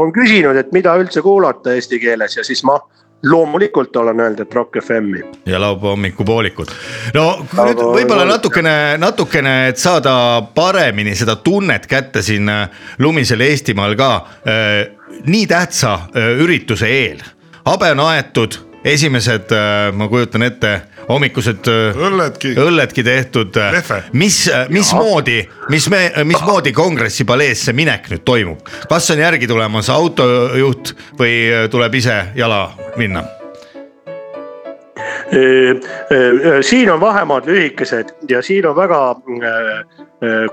Speaker 7: on küsinud , et mida üldse kuulata eesti keeles ja siis ma loomulikult olen öelnud , et Rock FM-i .
Speaker 5: ja laupäeva hommikupoolikud . no kui nüüd
Speaker 7: Laupäeva
Speaker 5: võib-olla
Speaker 7: hommikul.
Speaker 5: natukene , natukene , et saada paremini seda tunnet kätte siin äh, lumisel Eestimaal ka äh, nii tähtsa äh, ürituse eel . habe on aetud , esimesed , ma kujutan ette , hommikused äh,
Speaker 4: õlledki ,
Speaker 5: õlledki tehtud .
Speaker 4: Lehve.
Speaker 5: mis , mismoodi , mis me , mismoodi kongressi palees see minek nüüd toimub , kas on järgi tulemas äh, autojuht või tuleb ise jala minna ?
Speaker 7: Äh, siin on vahemaad lühikesed ja siin on väga äh, äh,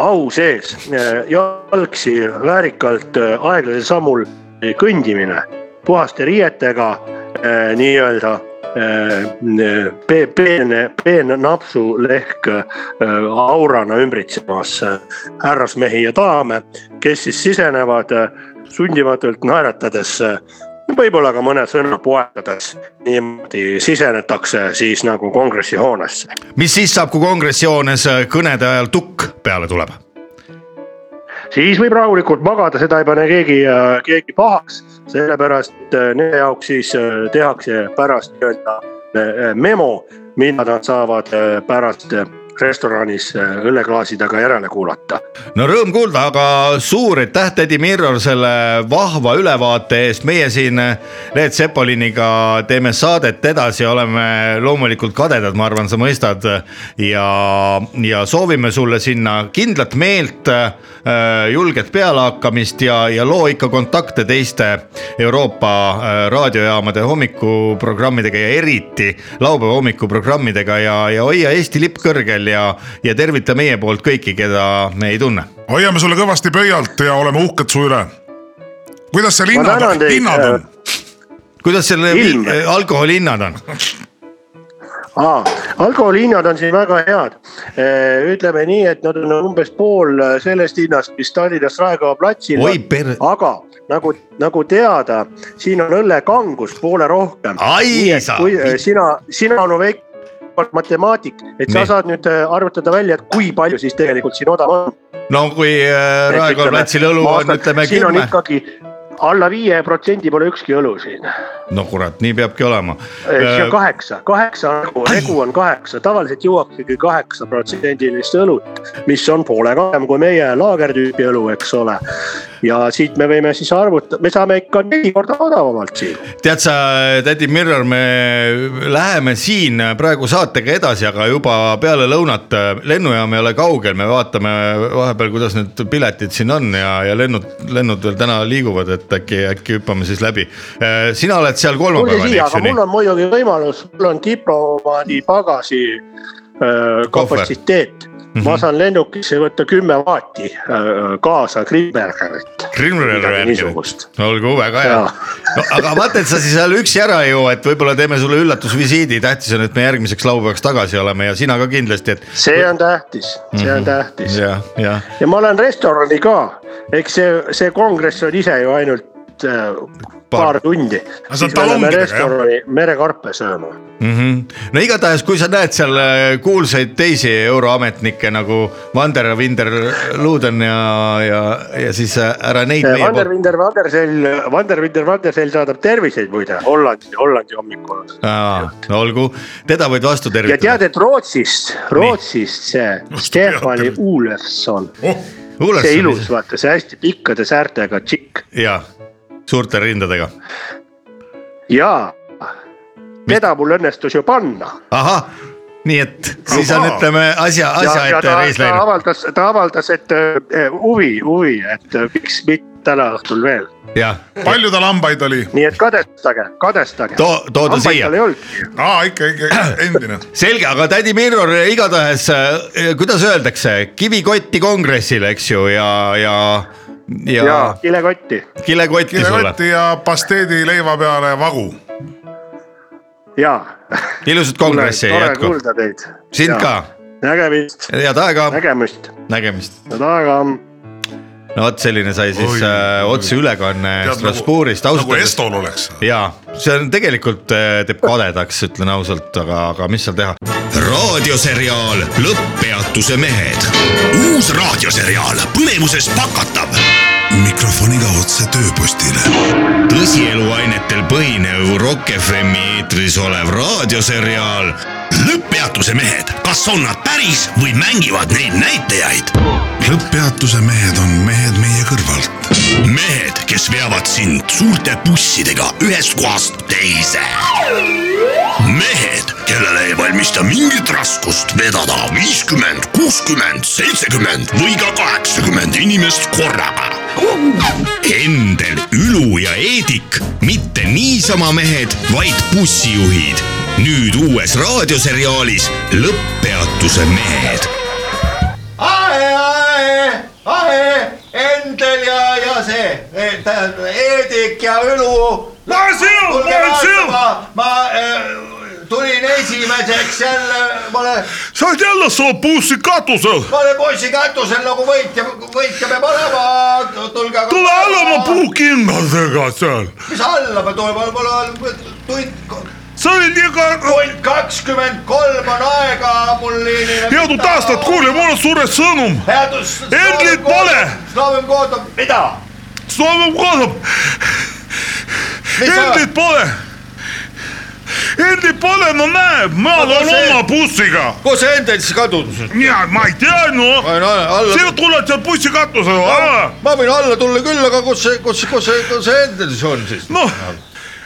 Speaker 7: au sees äh, jalgsi väärikalt äh, aeglasel sammul äh, kõndimine puhaste riietega äh, nii-öelda äh, pe- peene , peene napsu lehk äh, aurana ümbritsemas äh, härrasmehi ja daame , kes siis sisenevad äh, sundimatult naeratades äh, võib-olla ka mõne sõna poetades niimoodi sisenetakse siis nagu kongressihoonesse .
Speaker 5: mis siis saab , kui kongressihoones äh, kõnede ajal tukk peale tuleb ?
Speaker 7: siis võib rahulikult magada , seda ei pane keegi , keegi pahaks . sellepärast et nende jaoks siis äh, tehakse pärast nii-öelda äh, memo , mida nad saavad äh, pärast äh, restoranis äh, õlleklaasidega järele kuulata .
Speaker 5: no rõõm kuulda , aga suur aitäh , tädi Mirror , selle vahva ülevaate eest . meie siin äh, Leet Sepoliniga teeme saadet edasi , oleme loomulikult kadedad , ma arvan , sa mõistad . ja , ja soovime sulle sinna kindlat meelt , äh, julget pealehakkamist ja , ja loo ikka kontakte teiste Euroopa äh, raadiojaamade hommikuprogrammidega ja eriti laupäeva hommikuprogrammidega ja , ja hoia Eesti lipp kõrgel ja , ja tervita meie poolt kõiki , keda me ei tunne
Speaker 4: hoiame sulle kõvasti pöialt ja oleme uhked su üle . kuidas see
Speaker 7: ma
Speaker 4: linnad
Speaker 7: tänan , teid äh,
Speaker 4: linnad on ?,
Speaker 5: kuidas selle
Speaker 7: Ilm.
Speaker 5: vi- alkoholi hinnad on ?
Speaker 7: Aa, alkoholihinnad on siin väga head . ütleme nii , et nad on umbes pool eh, sellest hinnast , mis Tallinnas Raekoja platsil
Speaker 5: oi
Speaker 7: on .
Speaker 5: per- ,
Speaker 7: aga nagu , nagu teada , siin on õllekangus poole rohkem .
Speaker 5: Ai sa-
Speaker 7: kui eh, sina , sina onu väike matemaatik , et sa
Speaker 5: Nii.
Speaker 7: nii. saad nüüd eh, arvutada välja , et kui palju siis tegelikult siin odav on .
Speaker 5: no kui äh, Raekoja platsil õlu on , ütleme
Speaker 7: siin on
Speaker 5: kümme .
Speaker 7: ikkagi alla viie protsendi pole ükski õlu siin .
Speaker 5: no kurat , nii peabki olema .
Speaker 7: see on kaheksa , kaheksa nagu ,
Speaker 5: Äh, ai.
Speaker 7: regu on kaheksa , tavaliselt juuaksegi kaheksa protsendilist õlut , mis on poole kallim kui meie laagertüüpi õlu , eks ole . ja siit me võime siis arvutada , me saame ikka neli korda odavamalt siin .
Speaker 5: tead sa , tädi Mirror , me läheme siin praegu saatega edasi , aga juba peale lõunat äh, lennujaam ei ole kaugel , me vaatame vahepeal , kuidas need piletid siin on ja , ja lennud , lennud veel täna liiguvad , et äkki , äkki hüppame siis läbi . sina oled seal
Speaker 7: tulge
Speaker 5: kolmapäeval ,
Speaker 7: siia ,
Speaker 5: eks
Speaker 7: aga
Speaker 5: ju nii
Speaker 7: mul ? on muidugi võimalus , mul on diplomaadi pagasi öö, kapatsiteet .
Speaker 5: Mhm.
Speaker 7: ma saan lennukisse võtta kümme vaati öö, kaasa Grimbergerit . midagi niisugust .
Speaker 5: olgu , väga hea
Speaker 7: Jaa. .
Speaker 5: no aga vaata , et sa siis seal üksi ära ei jõua , et võib-olla teeme sulle üllatusvisiidi , tähtis on , et me järgmiseks laupäevaks tagasi oleme ja sina ka kindlasti , et .
Speaker 7: see on tähtis , see
Speaker 5: Mhm.
Speaker 7: on tähtis .
Speaker 5: jah , jah .
Speaker 7: ja ma olen restorani ka , eks see , see kongress on ise ju ainult äh, paar, paar tundi .
Speaker 4: Aga sa
Speaker 7: siis me lähme
Speaker 4: talongidega, jah?
Speaker 7: restorani merekarpe sööma .
Speaker 5: Mm -hmm. no igatahes , kui sa näed seal äh, kuulsaid teisi euroametnikke nagu Vander ja Vinder Luden ja , ja , ja siis äh, ära neid meie poolt .
Speaker 7: Vanderwinder , Vandersell , Vanderwinder , Vandersell saadab terviseid muide Hollandi , Hollandi hommikul .
Speaker 5: No, olgu , teda võid vastu
Speaker 7: ja tead ,
Speaker 5: tervitada .
Speaker 7: et Rootsist , Rootsist see Stefani Ulefson , see ilus , vaata see hästi pikkade säärtega tšikk
Speaker 5: ja suurte rindadega .
Speaker 7: ja teda mul õnnestus ju panna
Speaker 5: ahah , nii et siis on ,
Speaker 4: Ahaa.
Speaker 5: ütleme asja , asja
Speaker 7: ja, ja
Speaker 5: ette
Speaker 7: ta,
Speaker 5: reis
Speaker 7: ta
Speaker 5: läinud .
Speaker 7: avaldas , ta avaldas , et äh, huvi , huvi , et äh, miks mitte täna õhtul veel ,
Speaker 5: jah ,
Speaker 4: palju tal hambaid oli ?
Speaker 7: nii et kadestage , kadestage .
Speaker 5: too , too ta siia .
Speaker 4: aa , ikka , ikka endine .
Speaker 5: selge , aga tädi Mirror äh, igatahes , kuidas öeldakse , kivi-kotti kongressile , eks ju , ja , ja , ja,
Speaker 7: ja
Speaker 5: ja.
Speaker 7: kilekotti
Speaker 5: kilekotti sulle .
Speaker 4: kilekotti ja pasteedi leiva peale vagu .
Speaker 7: ja .
Speaker 5: ilusat kongressi
Speaker 7: tore
Speaker 5: jätku ,
Speaker 7: kuulda teid .
Speaker 5: sind ka ,
Speaker 7: nägemist ,
Speaker 5: head aega ,
Speaker 7: nägemist ,
Speaker 5: nägemist .
Speaker 7: head aega
Speaker 5: no vot , selline sai siis
Speaker 4: Oi,
Speaker 5: äh,
Speaker 4: oi.
Speaker 5: otseülekanne
Speaker 4: Tead, nagu-
Speaker 5: Strasbourgist , ausalt
Speaker 4: nagu
Speaker 5: öeldes
Speaker 4: Estol oleks .
Speaker 5: jaa , see on tegelikult äh, teeb kadedaks , ütlen ausalt , aga , aga mis seal teha .
Speaker 1: raadioseriaal Lõpppeatuse mehed . uus raadioseriaal põnevuses pakatav .
Speaker 2: mikrofoniga otse tööpostile .
Speaker 1: tõsieluainetel põhinev Rock FM-i eetris olev raadioseriaal Lõpppeatuse mehed , kas on nad päris või mängivad neid näitajaid ?
Speaker 2: lõpppeatuse mehed on mehed meie kõrvalt .
Speaker 1: mehed , kes veavad sind suurte bussidega ühest kohast teise . mehed , kellele ei valmista mingit raskust vedada viiskümmend , kuuskümmend , seitsekümmend või ka kaheksakümmend inimest korraga Endel , Ülu ja Eedik , mitte niisama mehed , vaid bussijuhid . nüüd uues raadioseriaalis Lõpppeatuse mehed .
Speaker 5: ae , ae , ae , Endel ja , ja see , tähendab Eedik ja Ülu .
Speaker 4: Lähen sinu, lähen sinu.
Speaker 5: ma äh, tulin esimeseks jälle , ma olen ,
Speaker 4: sa oled jälle seal bussi katusel ,
Speaker 5: ma olen poisi katusel nagu võitja , võitja peab olema , tulge .
Speaker 4: tule alla oma . puukingadega seal ,
Speaker 5: mis alla ma tulen , mul on tund ,
Speaker 4: sa oled iga ,
Speaker 5: tund kakskümmend kolm on aega mul liinile .
Speaker 4: head uut aastat , kuule , mul on suure sõnum ,
Speaker 5: headust .
Speaker 4: Endlit pole! .
Speaker 5: Slovem kohtab , mida ?
Speaker 4: soovib kasvab ,
Speaker 5: Mis sa-
Speaker 4: Endlit pole , Endlit pole , no näe , ma
Speaker 5: No
Speaker 4: olen
Speaker 5: see-
Speaker 4: oma bussiga ,
Speaker 5: kus see Endel siis kadunud on ?
Speaker 4: ja ma ei tea , no , sina
Speaker 5: alla ,
Speaker 4: tuled seal bussi katusele , aa ,
Speaker 5: ma võin alla tulla küll , aga kus see , kus , kus see , kus see Endel siis on siis ?
Speaker 4: noh ,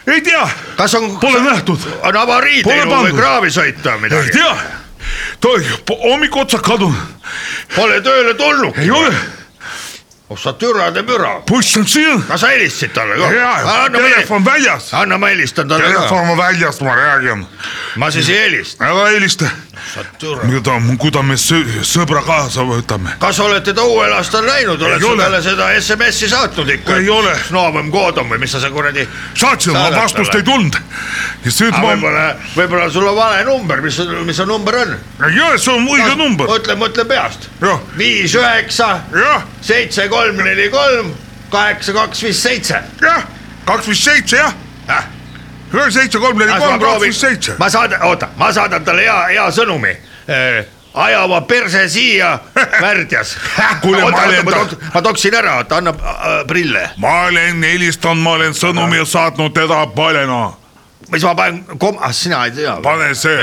Speaker 4: ei tea ,
Speaker 5: kas on ,
Speaker 4: pole nähtud ,
Speaker 5: on avarii
Speaker 4: Pole
Speaker 5: teinud või
Speaker 4: pandud.
Speaker 5: kraavi sõita või
Speaker 4: ei
Speaker 5: midagi ?
Speaker 4: tea , ta hommik otsa kadunud ,
Speaker 5: Pole tööle tulnud .
Speaker 4: ei ole ,
Speaker 5: oh sa türade müra ,
Speaker 4: buss on siin
Speaker 5: kas sa helistasid talle
Speaker 4: jaa ,
Speaker 5: ka ?
Speaker 4: telefon väljas .
Speaker 5: anna ma helistan talle ka ,
Speaker 4: telefon on väljas , ma räägin .
Speaker 5: ma siis ei helista .
Speaker 4: ära helista . kui ta , kui ta me sõ- sõbra kaasa võtame .
Speaker 5: kas olete ta uuel aastal näinud , oled sa
Speaker 4: ole.
Speaker 5: talle seda SMS-i saatnud ikka ?
Speaker 4: Ei ole.
Speaker 5: Snovem Kodom või mis sa seal kuradi ,
Speaker 4: saatsin , ma
Speaker 5: Saadad
Speaker 4: vastust
Speaker 5: talle.
Speaker 4: ei tulnud . ja siis ma ,
Speaker 5: võib-olla , võib-olla sul on vale number , mis , mis see number on ?
Speaker 4: ei ole , see on õige number .
Speaker 5: mõtle , mõtle peast .
Speaker 4: jah ,
Speaker 5: viis , üheksa ,
Speaker 4: jah ,
Speaker 5: seitse , kolm , neli , kolm , kaheksa , kaks , viis , seitse . Ah.
Speaker 4: jah , kaks viis seitse jah , ühe seitse kolm neli kolm , kaks viis seitse ..
Speaker 5: ma saadan , oota , ma saadan talle hea , hea sõnumi . aja oma perse siia värdjas
Speaker 4: Kuule, ma olen ta-
Speaker 5: ma toksin ära , oota , anna äh, prille .
Speaker 4: ma olen helistanud , ma olen sõnumi saatnud teda paljana .
Speaker 5: mis ma panen , kom- , ah sina ei tea .
Speaker 4: pane see .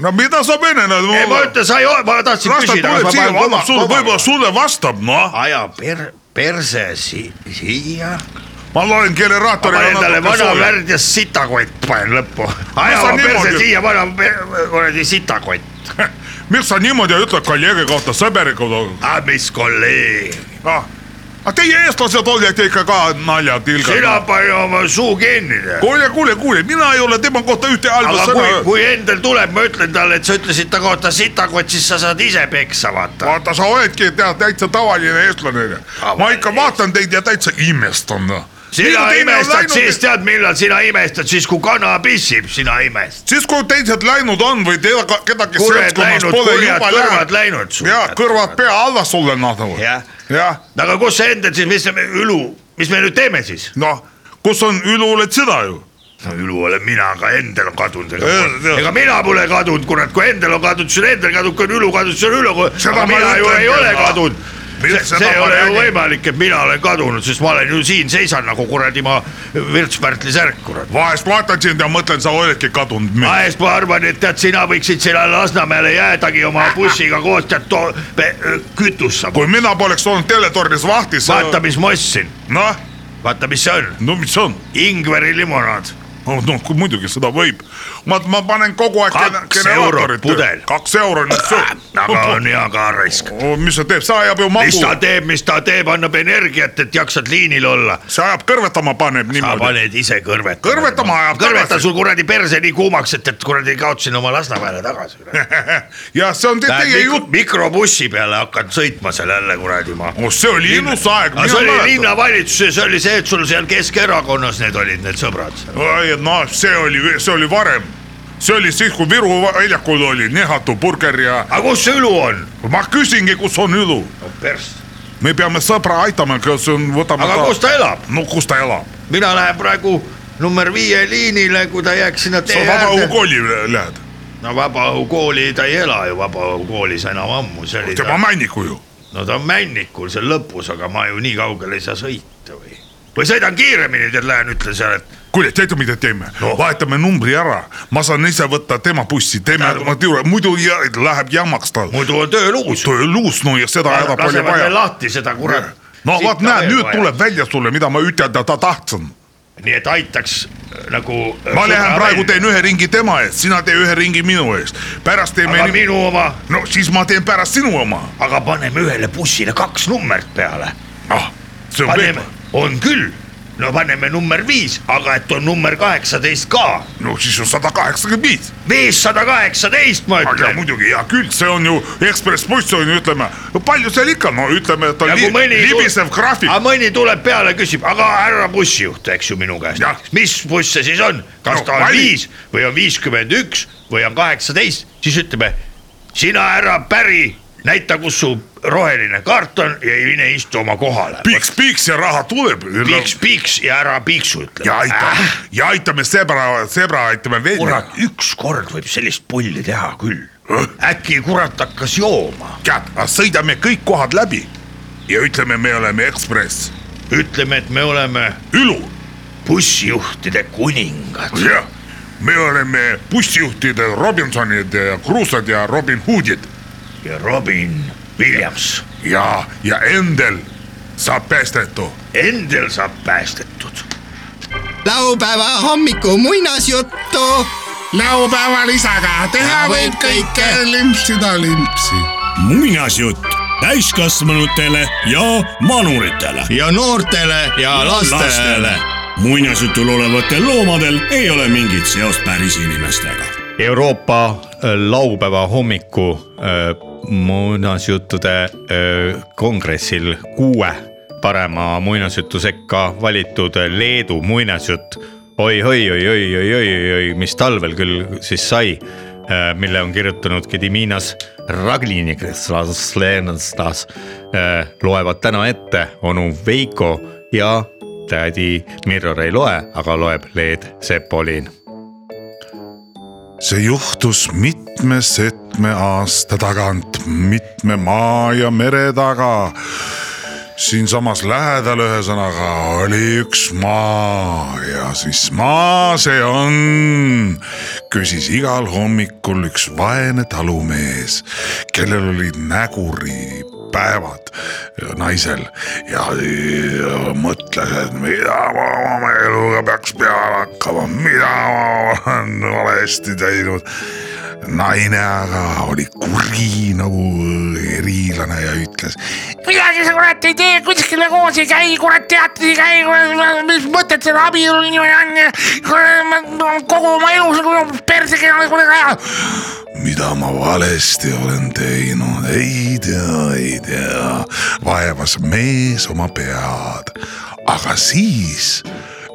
Speaker 4: no mida sa venelad ?
Speaker 5: ei , ma ütlen , sa ei , ma tahtsin
Speaker 4: las ta
Speaker 5: küsida .
Speaker 4: tuleb siia , annab sulle , võib-olla sulle vastab , noh .
Speaker 5: aja per- , perse si- , siia .
Speaker 4: ma loen generaatori .
Speaker 5: panen talle vana värdjas sitakott , panen lõppu . aja
Speaker 4: sa
Speaker 5: oma perse
Speaker 4: niimoodi-
Speaker 5: siia , vana per- kuradi sitakott .
Speaker 4: miks sa niimoodi ütled kolleegi kohta , sõberi kohta ?
Speaker 5: ah mis kolleeg ,
Speaker 4: aga teie eestlased olete ikka ka
Speaker 5: sina
Speaker 4: naljatilgad .
Speaker 5: pane oma suu kinni .
Speaker 4: kuule , kuule , kuule , mina ei ole tema kohta ühte halba
Speaker 5: aga kui ,
Speaker 4: sõna .
Speaker 5: kui Endel tuleb , ma ütlen talle , et sa ütlesid ta kohta sitakott , siis sa saad ise peksa , vaata .
Speaker 4: vaata , sa oledki tead täitsa tavaline eestlane . ma ikka vaatan teid ja täitsa imestan . noh.
Speaker 5: sina imestad siis , tead , millal sina imestad , siis kui kana pissib , sina imestad .
Speaker 4: siis kui teised läinud on või teil ka- kedagi
Speaker 5: kurjad
Speaker 4: seltskonnas
Speaker 5: läinud ,
Speaker 4: pole
Speaker 5: kurjad
Speaker 4: juba
Speaker 5: kõrvad
Speaker 4: läinud .
Speaker 5: läinud .
Speaker 4: ja kõrvad . pea alla sulle nadavad .
Speaker 5: Jah.
Speaker 4: jah ,
Speaker 5: aga kus see Endel siis , mis see Ülu , mis me nüüd teeme siis ?
Speaker 4: noh , kus on üluled sina ju
Speaker 5: no Ülu olen mina , aga Endel on kadunud , ega
Speaker 4: Jah, jah.
Speaker 5: mul , ega mina pole kadunud , kurat , kui Endel on kadunud , siis on Endel kadunud , kui on Ülu kadunud , siis on Ülu ,
Speaker 4: Seda
Speaker 5: aga
Speaker 4: ma
Speaker 5: mina ju
Speaker 4: ütlengi,
Speaker 5: ei ole
Speaker 4: aga-
Speaker 5: kadunud . see,
Speaker 4: Seda
Speaker 5: see ei
Speaker 4: ma
Speaker 5: ole ju
Speaker 4: räägin.
Speaker 5: võimalik , et mina olen kadunud , sest ma olen ju siin , seisan nagu kuradi ma Virts-Pärtli särk , kurat .
Speaker 4: vahest vaatan sind ja mõtlen , sa oledki kadunud mees .
Speaker 5: vahest ma arvan , et tead , sina võiksid sinna Lasnamäele jäädagi oma bussiga koos tead to- , kütust saama .
Speaker 4: kui mina poleks olnud teletornis vahtis .
Speaker 5: vaata , mis ma ostsin ,
Speaker 4: noh ,
Speaker 5: vaata , mis see on ,
Speaker 4: no mis on ,
Speaker 5: Ingveri limonaad ,
Speaker 4: noh kui muidugi seda võib . ma , ma panen kogu aeg
Speaker 5: Kaks
Speaker 4: gene- generaatorit
Speaker 5: eurot pudel. Ah,
Speaker 4: tööle. kaks eurot .
Speaker 5: aga on hea ka raisk .
Speaker 4: mis see teeb , see ajab ju
Speaker 5: mis ta
Speaker 4: magu ,
Speaker 5: teeb , mis ta teeb , annab energiat , et jaksad liinil olla .
Speaker 4: see ajab kõrvetama , paneb
Speaker 5: sa
Speaker 4: niimoodi .
Speaker 5: paned ise kõrvet .
Speaker 4: Kõrvetama ajab
Speaker 5: kõrveta
Speaker 4: tagasi.
Speaker 5: sul kuradi perse nii kuumaks , et , et kuradi kaotasin oma Lasnamäele tagasi .
Speaker 4: ja see on te- teie jutt ,
Speaker 5: mikrobussi peale hakkan sõitma seal jälle kuradi ma .
Speaker 4: oh see oli ilus aeg ,
Speaker 5: aga see
Speaker 4: mina
Speaker 5: oli
Speaker 4: mäletan .
Speaker 5: linnavalitsuses oli see , et sul seal Keskerakonnas need olid need sõbrad .
Speaker 4: oi , no noh, see oli , see oli varem , see oli siis , kui Viru väljakul oli Nihatu burger ja
Speaker 5: aga kus see Ülu on ?
Speaker 4: ma küsingi , kus on Ülu me peame sõbra aitama , kas on , võtame
Speaker 5: aga kus ta elab ?
Speaker 4: no kus ta elab ?
Speaker 5: mina lähen praegu number viie liinile , kui ta jääks sinna
Speaker 4: sa
Speaker 5: tee
Speaker 4: Vabaõhu
Speaker 5: äärde .
Speaker 4: kooli lähed ,
Speaker 5: no Vabaõhukooli ta ei ela ju Vabaõhukoolis enam ammu , see oli
Speaker 4: tema
Speaker 5: ta ,
Speaker 4: männiku ju .
Speaker 5: no ta on Männikul seal lõpus , aga ma ju nii kaugele ei saa sõita või , või sõidan kiiremini , tead lähen ütlen seal , et
Speaker 4: kuule , teate , mida teeme no. ? vahetame numbri ära , ma saan ise võtta tema bussi , teeme
Speaker 5: Tähendab- ,
Speaker 4: muidu ja, läheb jamaks tal .
Speaker 5: muidu on töö luus .
Speaker 4: luus , no ja seda häda palju
Speaker 5: lasevad veel
Speaker 4: vaja .
Speaker 5: lahti seda kurat .
Speaker 4: no vot , näed , nüüd vaja. tuleb välja sulle , mida ma ütelda ta tahtsin .
Speaker 5: nii et aitaks äh, nagu .
Speaker 4: ma lähen praegu . teen ühe ringi tema eest , sina tee ühe ringi minu eest , pärast teeme
Speaker 5: aga
Speaker 4: nii...
Speaker 5: minu oma ,
Speaker 4: no siis ma teen pärast sinu oma .
Speaker 5: aga paneme ühele bussile kaks numbert peale .
Speaker 4: ah ,
Speaker 8: see on
Speaker 5: paneme
Speaker 8: pehme .,
Speaker 5: on küll , no paneme number viis , aga et on number kaheksateist ka ,
Speaker 8: no siis on sada kaheksakümmend viis .
Speaker 5: viis sada kaheksateist ma
Speaker 8: aga
Speaker 5: ütlen .
Speaker 8: muidugi hea küll , see on ju Ekspress buss on ju , ütleme , palju seal ikka , no ütleme , et on
Speaker 5: Ja
Speaker 8: li
Speaker 5: kui Nagu mõni tu-
Speaker 8: libisev graafik
Speaker 5: aga . mõni tuleb peale , küsib , aga härra bussijuht , eks ju minu käest
Speaker 8: Jah. ,
Speaker 5: mis buss see siis on , kas
Speaker 8: No,
Speaker 5: ta on
Speaker 8: vali.
Speaker 5: viis või on viiskümmend üks või on kaheksateist , siis ütleme , sina härra päri , näita , kus su roheline kaart on ja mine istu oma kohale .
Speaker 8: piiks , piiks ja raha tuleb .
Speaker 5: piiks , piiks ja ära piiksu , ütleme .
Speaker 8: ja
Speaker 5: Ah.
Speaker 8: aitame , ja aitame zebra , zebra aitame välja
Speaker 5: kurat ,. ükskord võib sellist pulli teha küll . äkki kurat hakkas jooma ,
Speaker 8: tead , sõidame kõik kohad läbi ja ütleme , me oleme Ekspress ,
Speaker 5: ütleme , et me oleme
Speaker 8: Ülu ,
Speaker 5: bussijuhtide kuningad .
Speaker 8: jah . me oleme bussijuhtide Robinsonid ja Kruusad ja Robin Hoodid
Speaker 5: ja Robin Williams ,
Speaker 8: ja , ja Endel saab päästetu .
Speaker 5: endel saab päästetud .
Speaker 9: laupäeva hommiku muinasjuttu .
Speaker 4: laupäeval isaga
Speaker 9: teha võib kõike.
Speaker 4: limpsida limpsi .
Speaker 10: muinasjutt täiskasvanutele ja manuritele .
Speaker 1: ja noortele ja lastele .
Speaker 10: muinasjutul olevatel loomadel ei ole mingit seost päris inimestega .
Speaker 1: Euroopa äh, laupäeva hommiku äh, muinasjuttude äh, kongressil kuue parema muinasjutu sekka valitud Leedu muinasjutt oi , oi , oi , oi , oi , oi , oi , oi , mis talvel küll siis sai , mille on kirjutanud Gediminas Raglinikestas , Äh, loevad täna ette onu Veiko ja tädi Mirror ei loe , aga loeb Leed Sepolin
Speaker 4: see juhtus mitme-setme aasta tagant , mitme maa ja mere taga . siinsamas lähedal , ühesõnaga oli üks maa ja siis maa see on , küsis igal hommikul üks vaene talumees , kellel olid näguripäevad naisel ja, ja mõtles , et mida ma oma eluga peaks peale hakkama , mida ma olen valesti teinud naine aga oli kuri nagu erilane ja ütles . midagi sa kurat ei tee , kuskile koos ei käi , kurat teatris ei käi , mis mõtet seal abielul niimoodi on , kurat ma- ma kogu oma elu sul persega ei ole kunagi ära . mida ma valesti olen teinud , ei tea , ei tea , vaevas mees oma pead , aga siis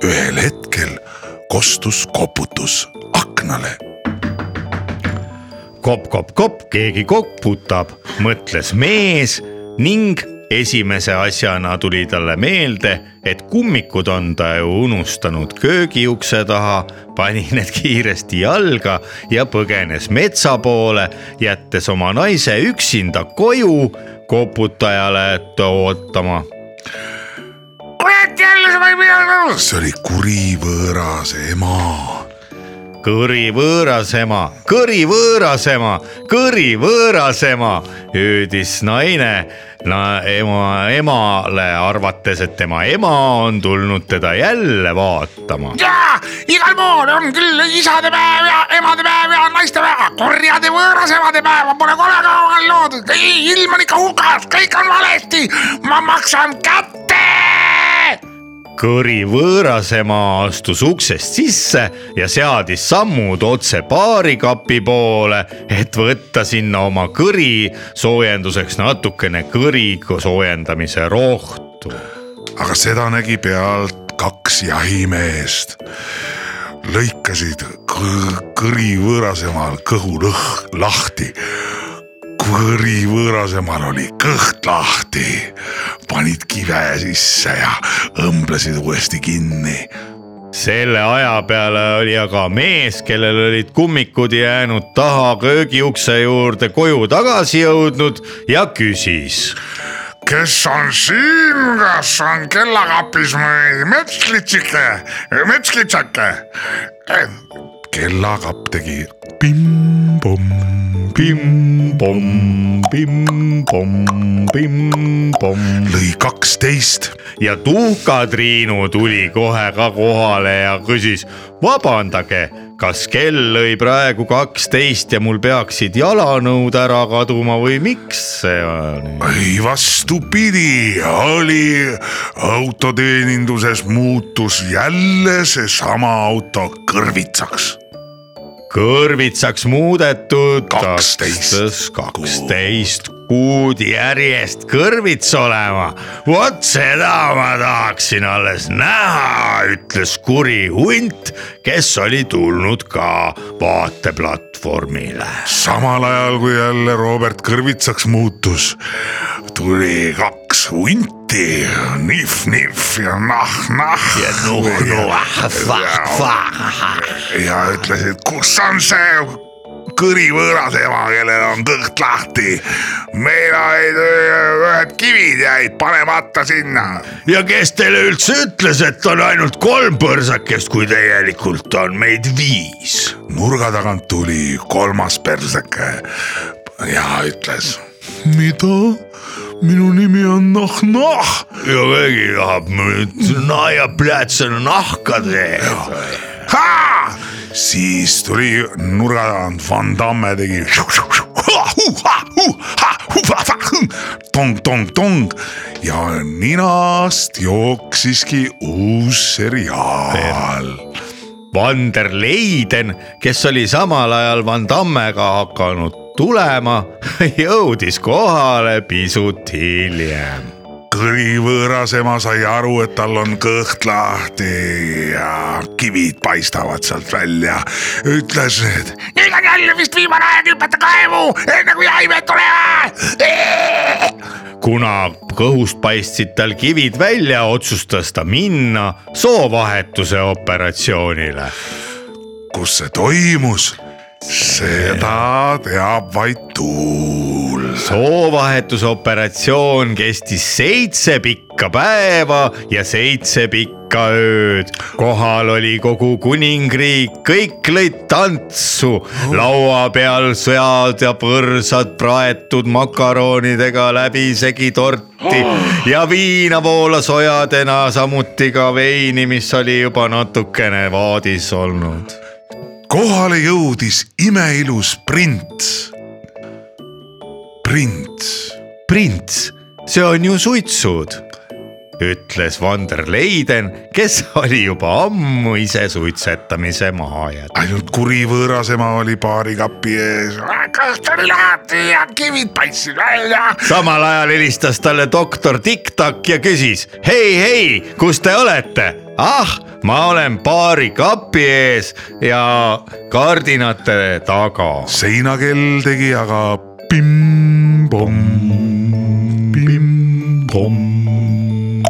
Speaker 4: ühel hetkel kostus koputus aknale
Speaker 1: kopp-kopp-kopp , keegi koputab , mõtles mees ning esimese asjana tuli talle meelde , et kummikud on ta ju unustanud köögiukse taha , pani need kiiresti jalga ja põgenes metsa poole , jättes oma naise üksinda koju koputajale ootama .
Speaker 4: see oli kuri võõras ema .
Speaker 1: kõri võõras ema , kõri võõras ema , kõri võõras ema , hüüdis naine na, ema , emale , arvates , et tema ema on tulnud teda jälle vaatama .
Speaker 8: ja igal pool on küll isadepäev ja emadepäev ja naistepäev , aga kurjade võõrasemade päeva pole kole ka vahel loodud , ilm on ikka hukas , kõik on valesti , ma maksan kätte .
Speaker 1: kõri võõras ema astus uksest sisse ja seadis sammud otse baarikapi poole , et võtta sinna oma kõri soojenduseks natukene kõri soojendamise rohtu .
Speaker 4: aga seda nägi pealt kaks jahimeest . lõikasid kõ- kõri võõrasemal kõhu lõhk lahti . kõri võõrasemal oli kõht lahti , panid kive sisse ja õmblesid uuesti kinni .
Speaker 1: selle aja peale oli aga mees , kellel olid kummikud jäänud taha köögiukse juurde koju tagasi jõudnud ja küsis .
Speaker 4: kes on siin , kas on kellakapis mõni metslitsike , metslitsake ? kellakapp tegi pimm-pomm ,
Speaker 1: pimm-pomm , pimm-pomm , pimm-pomm
Speaker 4: lõi kaksteist .
Speaker 1: ja Tuhka-Triinu tuli kohe ka kohale ja küsis , vabandage , kas kell lõi praegu kaksteist ja mul peaksid jalanõud ära kaduma või miks see on ?
Speaker 4: ei vastupidi , oli autoteeninduses muutus jälle seesama auto kõrvitsaks .
Speaker 1: kõrvitsaks muudetud
Speaker 4: Kaksteist
Speaker 1: kaksteist kuud järjest kõrvits olema . vot seda ma tahaksin alles näha , ütles kuri hunt , kes oli tulnud ka vaateplatvormile .
Speaker 4: samal ajal kui jälle Robert kõrvitsaks muutus , tuli kaks hunti , nihv-nihv ja nahh-nahh .
Speaker 5: ja nuh-nuh .
Speaker 4: ja ütlesid , kus on see kõrivõõras ema , kellel on kõht lahti . meil olid öö, ühed kivid jäid panemata sinna .
Speaker 5: ja kes teile üldse ütles , et on ainult kolm põrsakest , kui tegelikult on meid viis ?
Speaker 4: nurga tagant tuli kolmas perseke ja ütles . mida ? minu nimi on Noh Nahh-Nahh .
Speaker 5: ja keegi tahab nüüd naiaplätsena nahka teha .
Speaker 4: siis tuli nurga tagant Van Damme tegi . tong-tong-tong ja ninast jooksiski uus seriaal .
Speaker 1: Vander Leiden , kes oli samal ajal Van Dammega hakanud tulema , jõudis kohale pisut hiljem .
Speaker 4: kõrivõõras ema sai aru , et tal on kõht lahti ja kivid paistavad sealt välja . ütles , et
Speaker 11: nüüd on jälle vist viimane aeg hüpata kaevu , enne kui haimed tulevad .
Speaker 1: kuna kõhust paistsid tal kivid välja , otsustas ta minna soovahetuse operatsioonile .
Speaker 4: kus see toimus , seda teab vaid tuul .
Speaker 1: soovahetuse operatsioon kestis seitse pikka päeva ja seitse pikka ööd . kohal oli kogu kuningriik , kõik lõid tantsu , laua peal sõjad ja põrsad praetud makaronidega läbisegi torti ja viina voolas ojadena , samuti ka veini , mis oli juba natukene vaadis olnud .
Speaker 4: kohale jõudis imeilus prints . prints ,
Speaker 1: prints , see on ju suitsud , ütles Vander Leiden , kes oli juba ammu ise suitsetamise maha jätnud .
Speaker 4: ainult kurivõõras ema oli baarikapi ees .
Speaker 11: kõht oli lahti ja kivid paistsid välja .
Speaker 1: samal ajal helistas talle doktor Tiktak ja küsis hei , hei , kus te olete ? ah , ma olen baari kapi ees ja kardinate taga .
Speaker 4: seinakell tegi aga pimm-pomm ,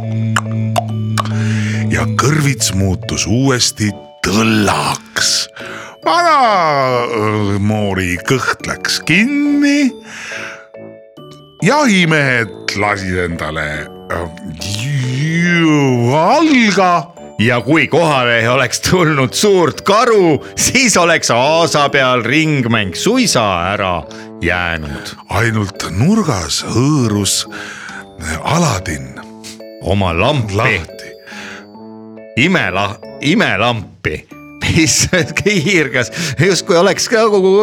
Speaker 4: pimm-pomm . ja kõrvits muutus uuesti tõllaks . vana äh, moori kõht läks kinni . jahimehed lasid endale äh, valga
Speaker 1: ja kui kohale ei oleks tulnud suurt karu , siis oleks aasa peal ringmäng suisa ära jäänud .
Speaker 4: ainult nurgas hõõrus Aladin
Speaker 1: oma lampi ,
Speaker 4: lahti .
Speaker 1: imela , imelampi , mis kiirgas , justkui oleks ka kogu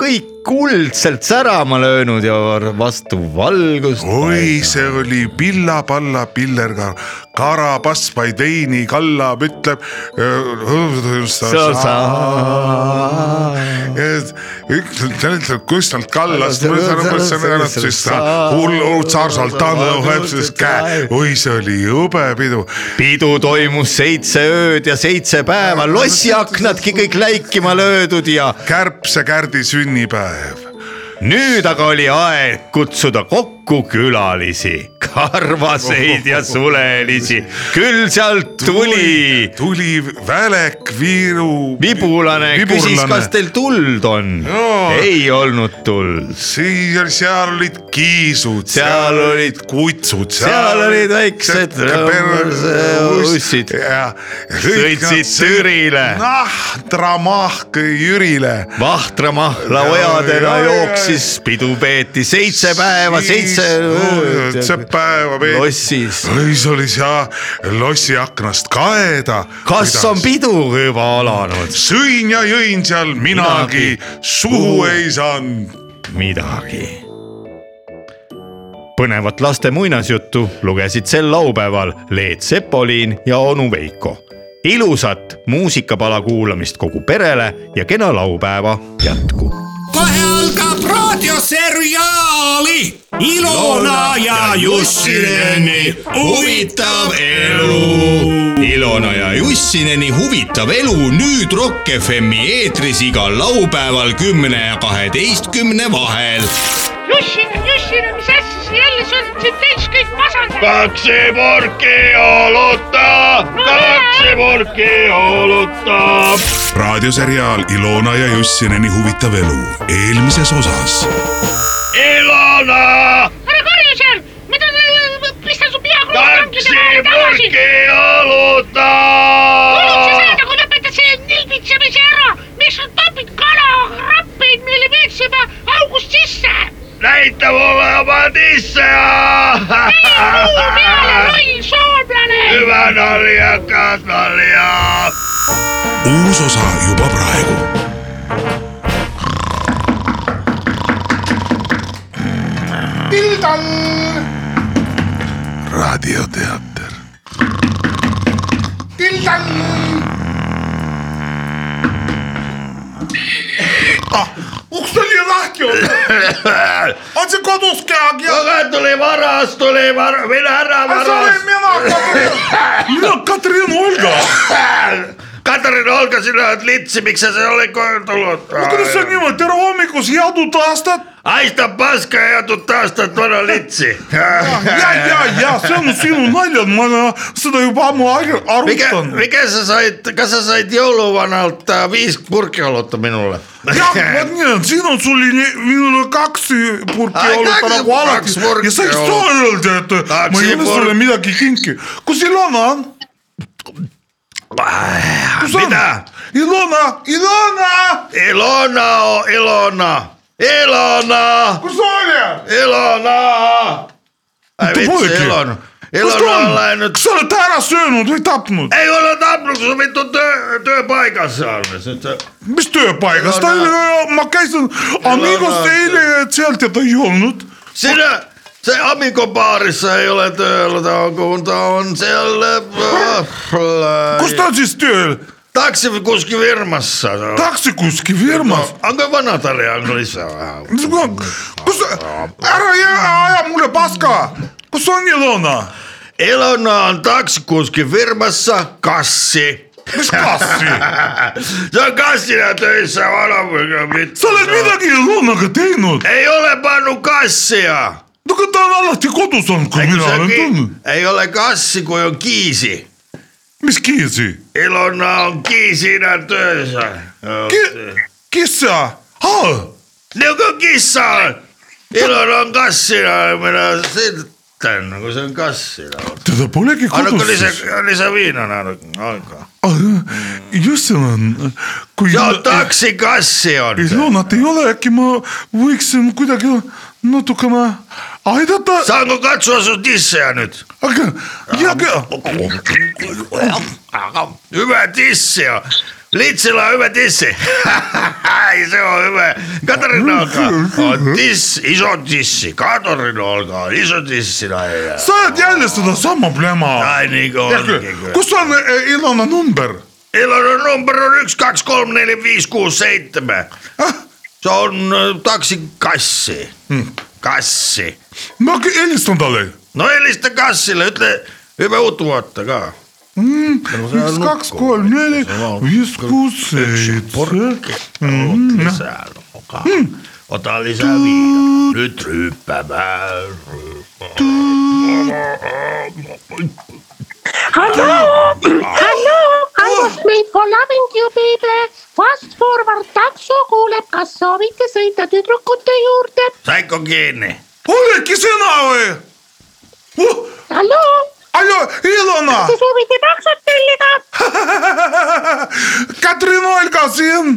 Speaker 1: kõik kuldselt särama löönud ja vastu valgust .
Speaker 4: oi , see oli pilla-palla pillerga , karapass vai teini kallab , ütleb . üks , see ütleb Kustalt kallast , siis ta hullu tsarsalt tõmbab siis käe , oi , see oli jube pidu .
Speaker 1: pidu toimus seitse ööd ja seitse päeva , lossiaknadki kõik läikima löödud ja
Speaker 4: kärbsekärdi sünnipäev ,
Speaker 1: nüüd aga oli aeg kutsuda kokku külalisi , karvaseid ja sulelisi , küll sealt tuli .
Speaker 4: tuli välek , viiru .
Speaker 1: vibulane küsis , kas teil tuld on
Speaker 4: Jaa. .
Speaker 1: ei olnud tuld ,
Speaker 4: siis seal olid kiisud ,
Speaker 1: Seal olid
Speaker 4: kutsud ,
Speaker 1: seal olid väiksed ussid.
Speaker 4: ja .
Speaker 1: Sõitsid Türile.
Speaker 4: nahhtramahk Jürile .
Speaker 1: vahtramahla
Speaker 4: Jaa,
Speaker 1: ojadena
Speaker 4: jaa, jaa.
Speaker 1: jooksis , pidu peeti seitse päeva ,
Speaker 4: Siis
Speaker 1: seitse
Speaker 3: see .
Speaker 12: see päeva peet-
Speaker 3: lossis .
Speaker 12: lõis oli seal lossi aknast kaeda .
Speaker 3: kas Kuidas? on pidu juba alanud ?
Speaker 12: sõin ja jõin seal minagi, suhu ei saanud .
Speaker 3: midagi . põnevat laste muinasjuttu lugesid sel laupäeval Leet Sepolin ja onu Veiko . ilusat muusikapala kuulamist kogu perele ja kena laupäeva jätku .
Speaker 1: kohe algab raadioseriaali Ilona ja Jussineni huvitav elu .
Speaker 13: Ilona ja Jussineni huvitav elu nüüd Rock FM-i eetris igal laupäeval kümne ja kaheteistkümne vahel .
Speaker 14: Jussin , Jussin , mis asja sa jälle , sul siin täis kõik masendab .
Speaker 5: kaksi purki olutta , kaksi purki olutta .
Speaker 12: raadioseriaal Ilona ja Jussineni huvitav elu eelmises osas .
Speaker 5: Ilona ,
Speaker 14: ära karju seal , mida ta , pista su pea kulutrangi
Speaker 5: kaksi
Speaker 14: selle tagasi .
Speaker 5: purki olutta .
Speaker 14: kulud sa saad , aga lõpeta see nilbitsemise ära . miks sa topid kalarappeid meile veetsema august sisse ?
Speaker 5: näita mulle oma tisse .
Speaker 14: muu peale , loll soomlane .
Speaker 5: hüva nalja , kas nalja .
Speaker 12: uus osa juba praegu .
Speaker 4: Tildal ,
Speaker 12: raadioteater .
Speaker 4: tildal . ah , uks oli lahti olnud . on see kodus keegi ?
Speaker 5: aga tuli varas , tuli var- , mine ära
Speaker 4: see olen
Speaker 5: varas .
Speaker 4: mina , mina Katrin Olga .
Speaker 5: Katrin , olge sina oled litsi , miks sa siia oled koju tulnud ?
Speaker 4: kuidas see niimoodi , tere hommikust , head uut aastat .
Speaker 5: haistab paska ja tut aastat vana litsi .
Speaker 4: ja , ja , ja see on sinu nalja , ma olen seda juba ammu ar-
Speaker 5: mikä ,
Speaker 4: arutanud .
Speaker 5: mikä sä sait , kas sä sait jouluvanalta viisi purkki olutta minulle ?
Speaker 4: jah , vot nii on , siin on sul nii- minule kaks purki
Speaker 5: Ai,
Speaker 4: olnud
Speaker 5: kaks-
Speaker 4: nagu alati
Speaker 5: kaks purki
Speaker 4: ja sa ei saa
Speaker 5: olnud.
Speaker 4: öelda , et
Speaker 5: Kaks
Speaker 4: ma ei ole
Speaker 5: purk-
Speaker 4: sulle midagi kinkinud . kus Ilona on ? kus on ?
Speaker 5: Mitä ?
Speaker 4: Ilona , Ilona ,
Speaker 5: Ilona on Ilona , Ilona ,
Speaker 4: kus sa oled ?
Speaker 5: Ilona . ai
Speaker 4: Vittu
Speaker 5: vitsi ,
Speaker 4: poikia.
Speaker 5: Ilona ,
Speaker 4: kus ta
Speaker 5: Ilona on
Speaker 4: on ?
Speaker 5: läinud
Speaker 4: kas . sa oled ta ära söönud või tapnud ?
Speaker 5: ei ole tapnud , sul mitu töö , tööpaigassa on .
Speaker 4: mis tööpaigas , ta
Speaker 5: Ilona.
Speaker 4: oli , ma käisin Amigos
Speaker 5: Ilona.
Speaker 4: eile sealt ja ta ei olnud .
Speaker 5: sinä , se amikobaarissa ei ole tööllä , kun ta on siellä
Speaker 4: kus ta on siis tööl ?
Speaker 5: taksikuskivirmassa .
Speaker 4: taksikuski firmas .
Speaker 5: No, Onko vanatarja onko lisää vähän?
Speaker 4: No, kus , ära jää , aja mulle paska , kus on Ilona ?
Speaker 5: Ilona on taksikuskivirmassa kassi .
Speaker 4: mis kassi ?
Speaker 5: se on kassina töissä vanha vittu.
Speaker 4: sa oled midagi Ilonaga teinud ,
Speaker 5: Ei ole pannut kassia.
Speaker 4: no aga ta on alati kodus olnud , kui
Speaker 5: Eikö
Speaker 4: mina
Speaker 5: se
Speaker 4: olen
Speaker 5: ki-
Speaker 4: tundnud .
Speaker 5: ei ole kassi kuin on kiisi.
Speaker 4: mis kiisi ?
Speaker 5: Ilona on kiisinä töissä. Joo, se-
Speaker 4: kissa ,
Speaker 5: Niinku kissa on. Ilona on kassina, niin minä sitten, kun se on kassina.
Speaker 4: teda polegi
Speaker 5: Annako
Speaker 4: kodus
Speaker 5: lisä,
Speaker 4: siis .
Speaker 5: lisä viinana nyt aikaa?
Speaker 4: just see on , kui
Speaker 5: Joo, taksikassi on. se.
Speaker 4: Ilonat ei ole , äkki ma võiksin kuidagi natukene aidata ,
Speaker 5: Saanko katsoa sun tissejä nyt?
Speaker 4: aga , aga
Speaker 5: Hyvä tissi on. Litsillä on hyvä tissi. Ai se on hyvä. Katarina olkaa. On tissi, iso tissi. Katarina olkaa. Iso tissi näin.
Speaker 4: sa oled jälle sedasama plema .
Speaker 5: Ai niin kuin onkin kyllä.
Speaker 4: kus on eh, Ilona number ?
Speaker 5: Ilonon numero on 1, 2, 3, 4, 5, 6, 7. Se on ö, taksin kassi. Kassi.
Speaker 4: ma hakkan- helistan talle .
Speaker 5: No helistä kassille. Nyt le- hyvä uutta vuotta kaa.
Speaker 4: üks , kaks , kolm , neli , viis , kuus , seitse .
Speaker 5: Oot lisää. Oka. Ota lisää viina. Nyt ryyppäämään.
Speaker 14: Hello , hello , I was made for loving you baby . Fast forward takso kuuleb , kas soovite sõita tüdrukute juurde ?
Speaker 5: Saiko kiinni?
Speaker 4: olegi sina või uh, ?
Speaker 14: hallo ,
Speaker 4: Aljo , Ilona Ah.
Speaker 14: kas , te soovite taksot tellida ?
Speaker 4: Katrin Olga siin ,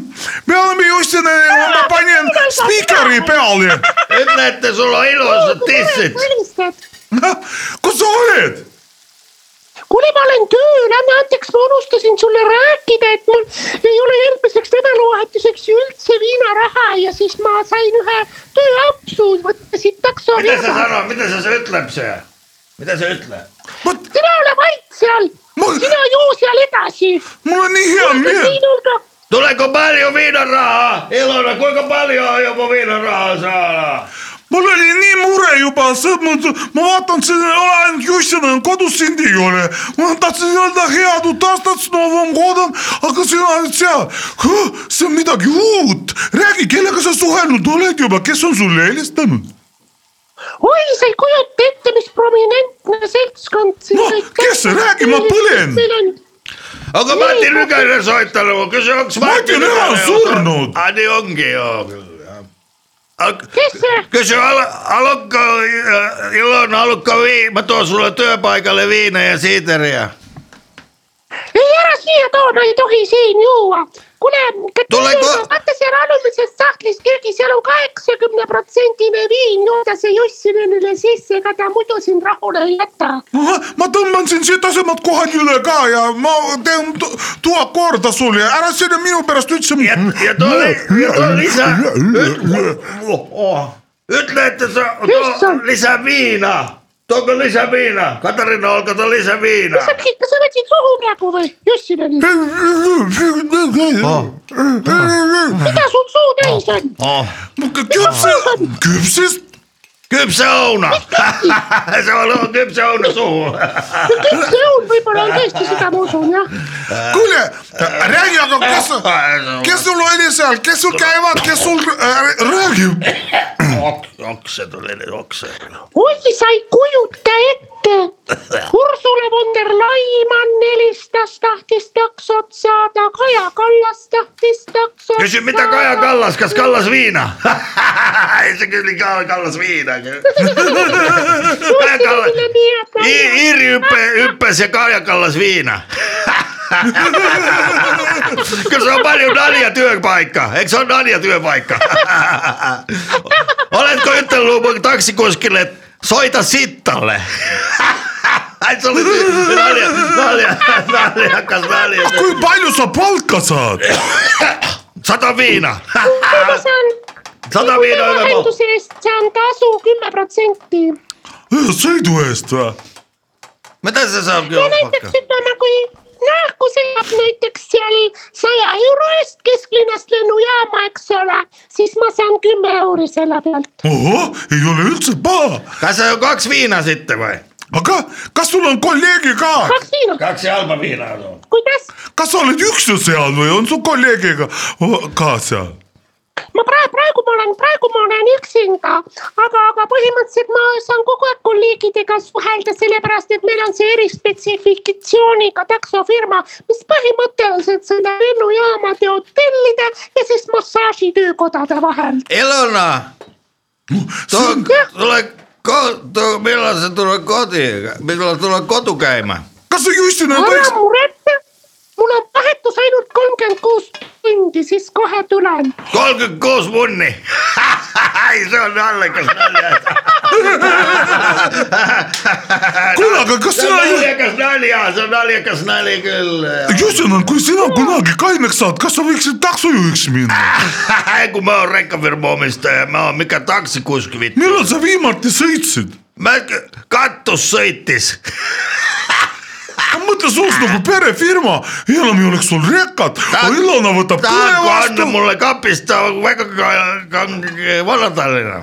Speaker 4: me oleme just , ma panin spikeri peale .
Speaker 5: nüüd näete , sul on ilusad tissid .
Speaker 4: kus sa oled ?
Speaker 14: kuule , ma olen tööl , anna andeks , ma unustasin sulle rääkida , et mul ei ole järgmiseks nädalavahetuseks ju üldse viinaraha ja siis ma sain ühe tööampsu võtta siit takso .
Speaker 5: mida see sõna , mida see see ütleb see , mida see ütleb ?
Speaker 14: sina ole vait seal ma... , sina joo seal edasi .
Speaker 4: mul on nii hea
Speaker 14: meel .
Speaker 5: tuleeko palju viinaraha , Ilona , kuinka paljon juba viinarahaa saa ?
Speaker 4: mul oli nii mure juba , ma vaatan , siin ei ole ainult Jussina , kodus sind ei ole . ma tahtsin öelda head uut aastat , s novым godom , aga sina oled seal . see on midagi uut , räägi , kellega sa suhelnud oled juba , kes on sulle helistanud ?
Speaker 14: oi , sa ei kujuta ette , mis prominentne seltskond siin no, .
Speaker 4: kes see , räägi , ma põlen .
Speaker 5: aga Mati Lügane soitan , ma küsin , kas
Speaker 4: Mati Lüga on surnud .
Speaker 5: aa , nii ongi ju .
Speaker 14: kes see ?
Speaker 5: küsi Al- , Aluka , Ilona Aluka vii- , ma toon sulle tööpaigale viina ja siideria .
Speaker 14: ei , ära siia too , no ei tohi siin juua . kuule ,
Speaker 5: Tule ko-
Speaker 14: vaata seal alumises sahtlis köögis seal on kaheksakümne protsendine viin , jooda see Jussinenile sisse , ega ta muidu sind rahule ei jäta .
Speaker 4: ma tõmban siin sitasemad kohad üle ka ja ma teen tu- tuhat korda sulle , ära sina minu pärast üldse . ja ,
Speaker 5: ja too li- ja too lisa- ütle , et sa , too lisa viina , tooge lisa viina , Katariina , olgu too lisa viina .
Speaker 14: kas sa , kas sa võtsid suhu praegu või , Jussinenile ?
Speaker 4: Ah.
Speaker 14: mida sul suu täis on ?
Speaker 4: küpse , küpsest .
Speaker 5: küpse õuna . see on küpse õuna suhu .
Speaker 14: küpse õun võib-olla on tõesti , seda ma usun jah .
Speaker 4: kuule , räägi , aga kes , kes sul oli seal , kes sul käivad , kes sul äh, räägib ?
Speaker 5: okse tuli nüüd , okse .
Speaker 14: oi , sa ei kujuta ette . Ursula von der Laimann helistas , tahtis taksot saada , Kaja Kallas tahtis taksot
Speaker 5: küsin , mida Kaja Kallas , kas Kallas viina ? see küll ikka on Kallas viina . Kaja Kallas , Iiri hüppe , hüppes ja Kaja Kallas viina . kas on palju nalja tööpaika , eks on nalja tööpaika ? oletko ütelnud mu taksikuskile , et soida sittale ? see oli nalja , nalja , naljakas nalja .
Speaker 4: kui palju sa palka saad ?
Speaker 5: sada viina .
Speaker 14: sada viina üle maha . vahenduse eest saan tasu kümme protsenti .
Speaker 4: sõidu eest või ?
Speaker 5: mida see saab ?
Speaker 14: ja näiteks ütleme , kui nahku sõidab näiteks seal saja euro eest kesklinnast lennujaama , eks ole , siis ma saan kümme euri selle pealt .
Speaker 4: ohoh , ei ole üldse paha .
Speaker 5: kas sa kaks viina sitte või ?
Speaker 4: aga kas sul on kolleegi ka ?
Speaker 14: kaks viina .
Speaker 5: kaks jalba viina on .
Speaker 14: kuidas ?
Speaker 4: kas sa oled üksi seal või on sul kolleegiga ka seal ?
Speaker 14: ma praegu , praegu ma olen , praegu ma olen üksinda , aga , aga põhimõtteliselt ma saan kogu aeg kolleegidega suhelda , sellepärast et meil on see erispetsifikatsiooniga taksofirma , mis põhimõtteliselt sõidab lennujaamade , hotellide ja siis massaažitöökodade vahel .
Speaker 5: Elona . tule , tule , millal sa tuled kodu , millal tuled kodu käima ?
Speaker 4: kas sa Justina
Speaker 14: ära muretse , mul on vahetus ainult kolmkümmend kuus tundi , siis kohe tulen .
Speaker 5: kolmkümmend kuus munni . see on naljakas nalja .
Speaker 4: Kuule, aga kas
Speaker 5: see on
Speaker 4: sina-
Speaker 5: naljakas nalja , see on naljakas nali küll .
Speaker 4: Justina , kui sina kunagi kaineks saad , kas sa võiksid taksojuhiks minna ?
Speaker 5: kui ma olen rekkafirma omistaja , ma olen ikka taksikuskivit .
Speaker 4: millal sa viimati sõitsid ?
Speaker 5: ma , katus sõitis .
Speaker 4: mõtle , sul on nagu perefirma , enam ei oleks sul rekat , Ilona võtab
Speaker 5: tahad ,
Speaker 4: kõne
Speaker 5: kui anna
Speaker 4: vastu ,
Speaker 5: mulle kapist väga ka- kange Vana-Tallinna .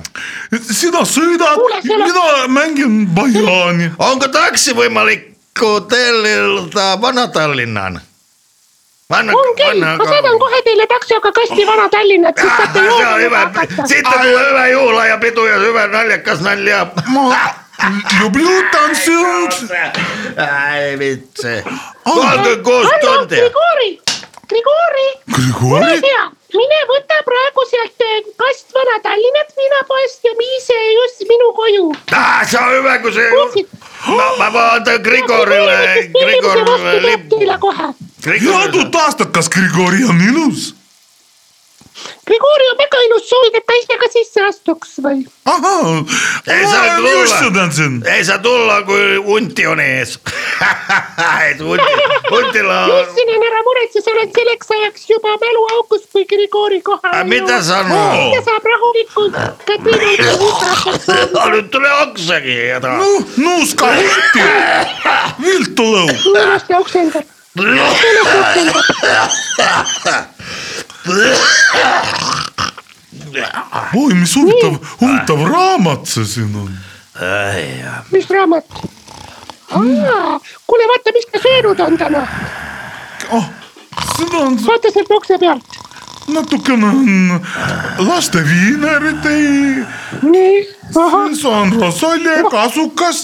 Speaker 4: sina sõidad , mina mängin Bajani .
Speaker 5: onko taksi võimalik tellida Vana-Tallinnan ? Vanna ,
Speaker 14: no on küll , ma saadan kohe teile taksoga kasti Vana-Tallinna , et siis saate
Speaker 5: see Ah, on
Speaker 14: jooma
Speaker 5: hyvä ,
Speaker 14: hakata .
Speaker 5: sitten on hyvä juhla ja pitu ja hyvä naljakas nalja .
Speaker 4: Люблю tantsijat .
Speaker 5: ei vitsi , kolmkümmend kuus tundi .
Speaker 14: Grigori , Grigori , ole
Speaker 4: Grigori ,
Speaker 14: hea , mine võta praegu sealt eh, kast Vana-Tallinnat viinapoest ja vii see just minu koju .
Speaker 5: see Ah, on hyvä , No, kun se . mä, mä vaan antan Grigorile , Grigorile lippu .
Speaker 14: teile kohe ,
Speaker 2: jõudnud taastakas Grigori on ilus .
Speaker 14: Grigori on väga ilus , soovid , et ta ise ka sisse astuks või ?
Speaker 2: ahah ,
Speaker 15: ei saa tulla
Speaker 2: Issand, ,
Speaker 15: ei saa tulla , kui hunti on ees . et hunti , huntil on ,
Speaker 14: Jussinen , ära muretse , sa oled selleks ajaks juba mäluaukus , kui Grigori kohal
Speaker 15: Aga mida sa-
Speaker 14: ta saab rahulikult Katriinult ja Hukrakalt .
Speaker 15: nüüd tule oksagi ja ta .
Speaker 2: nuuska hunti , viltu lõu .
Speaker 14: õõnast ja oksendab . õõnast ja oksendab .
Speaker 2: oi , mis huvitav , huvitav raamat see siin on .
Speaker 14: mis raamat ? kuule , vaata , mis ta söönud on täna .
Speaker 2: Ah, seda on
Speaker 14: vaata sealt ukse pealt .
Speaker 2: natukene on laste viineritei ,
Speaker 14: nii , ahah ,
Speaker 2: see on rosolje , kasukas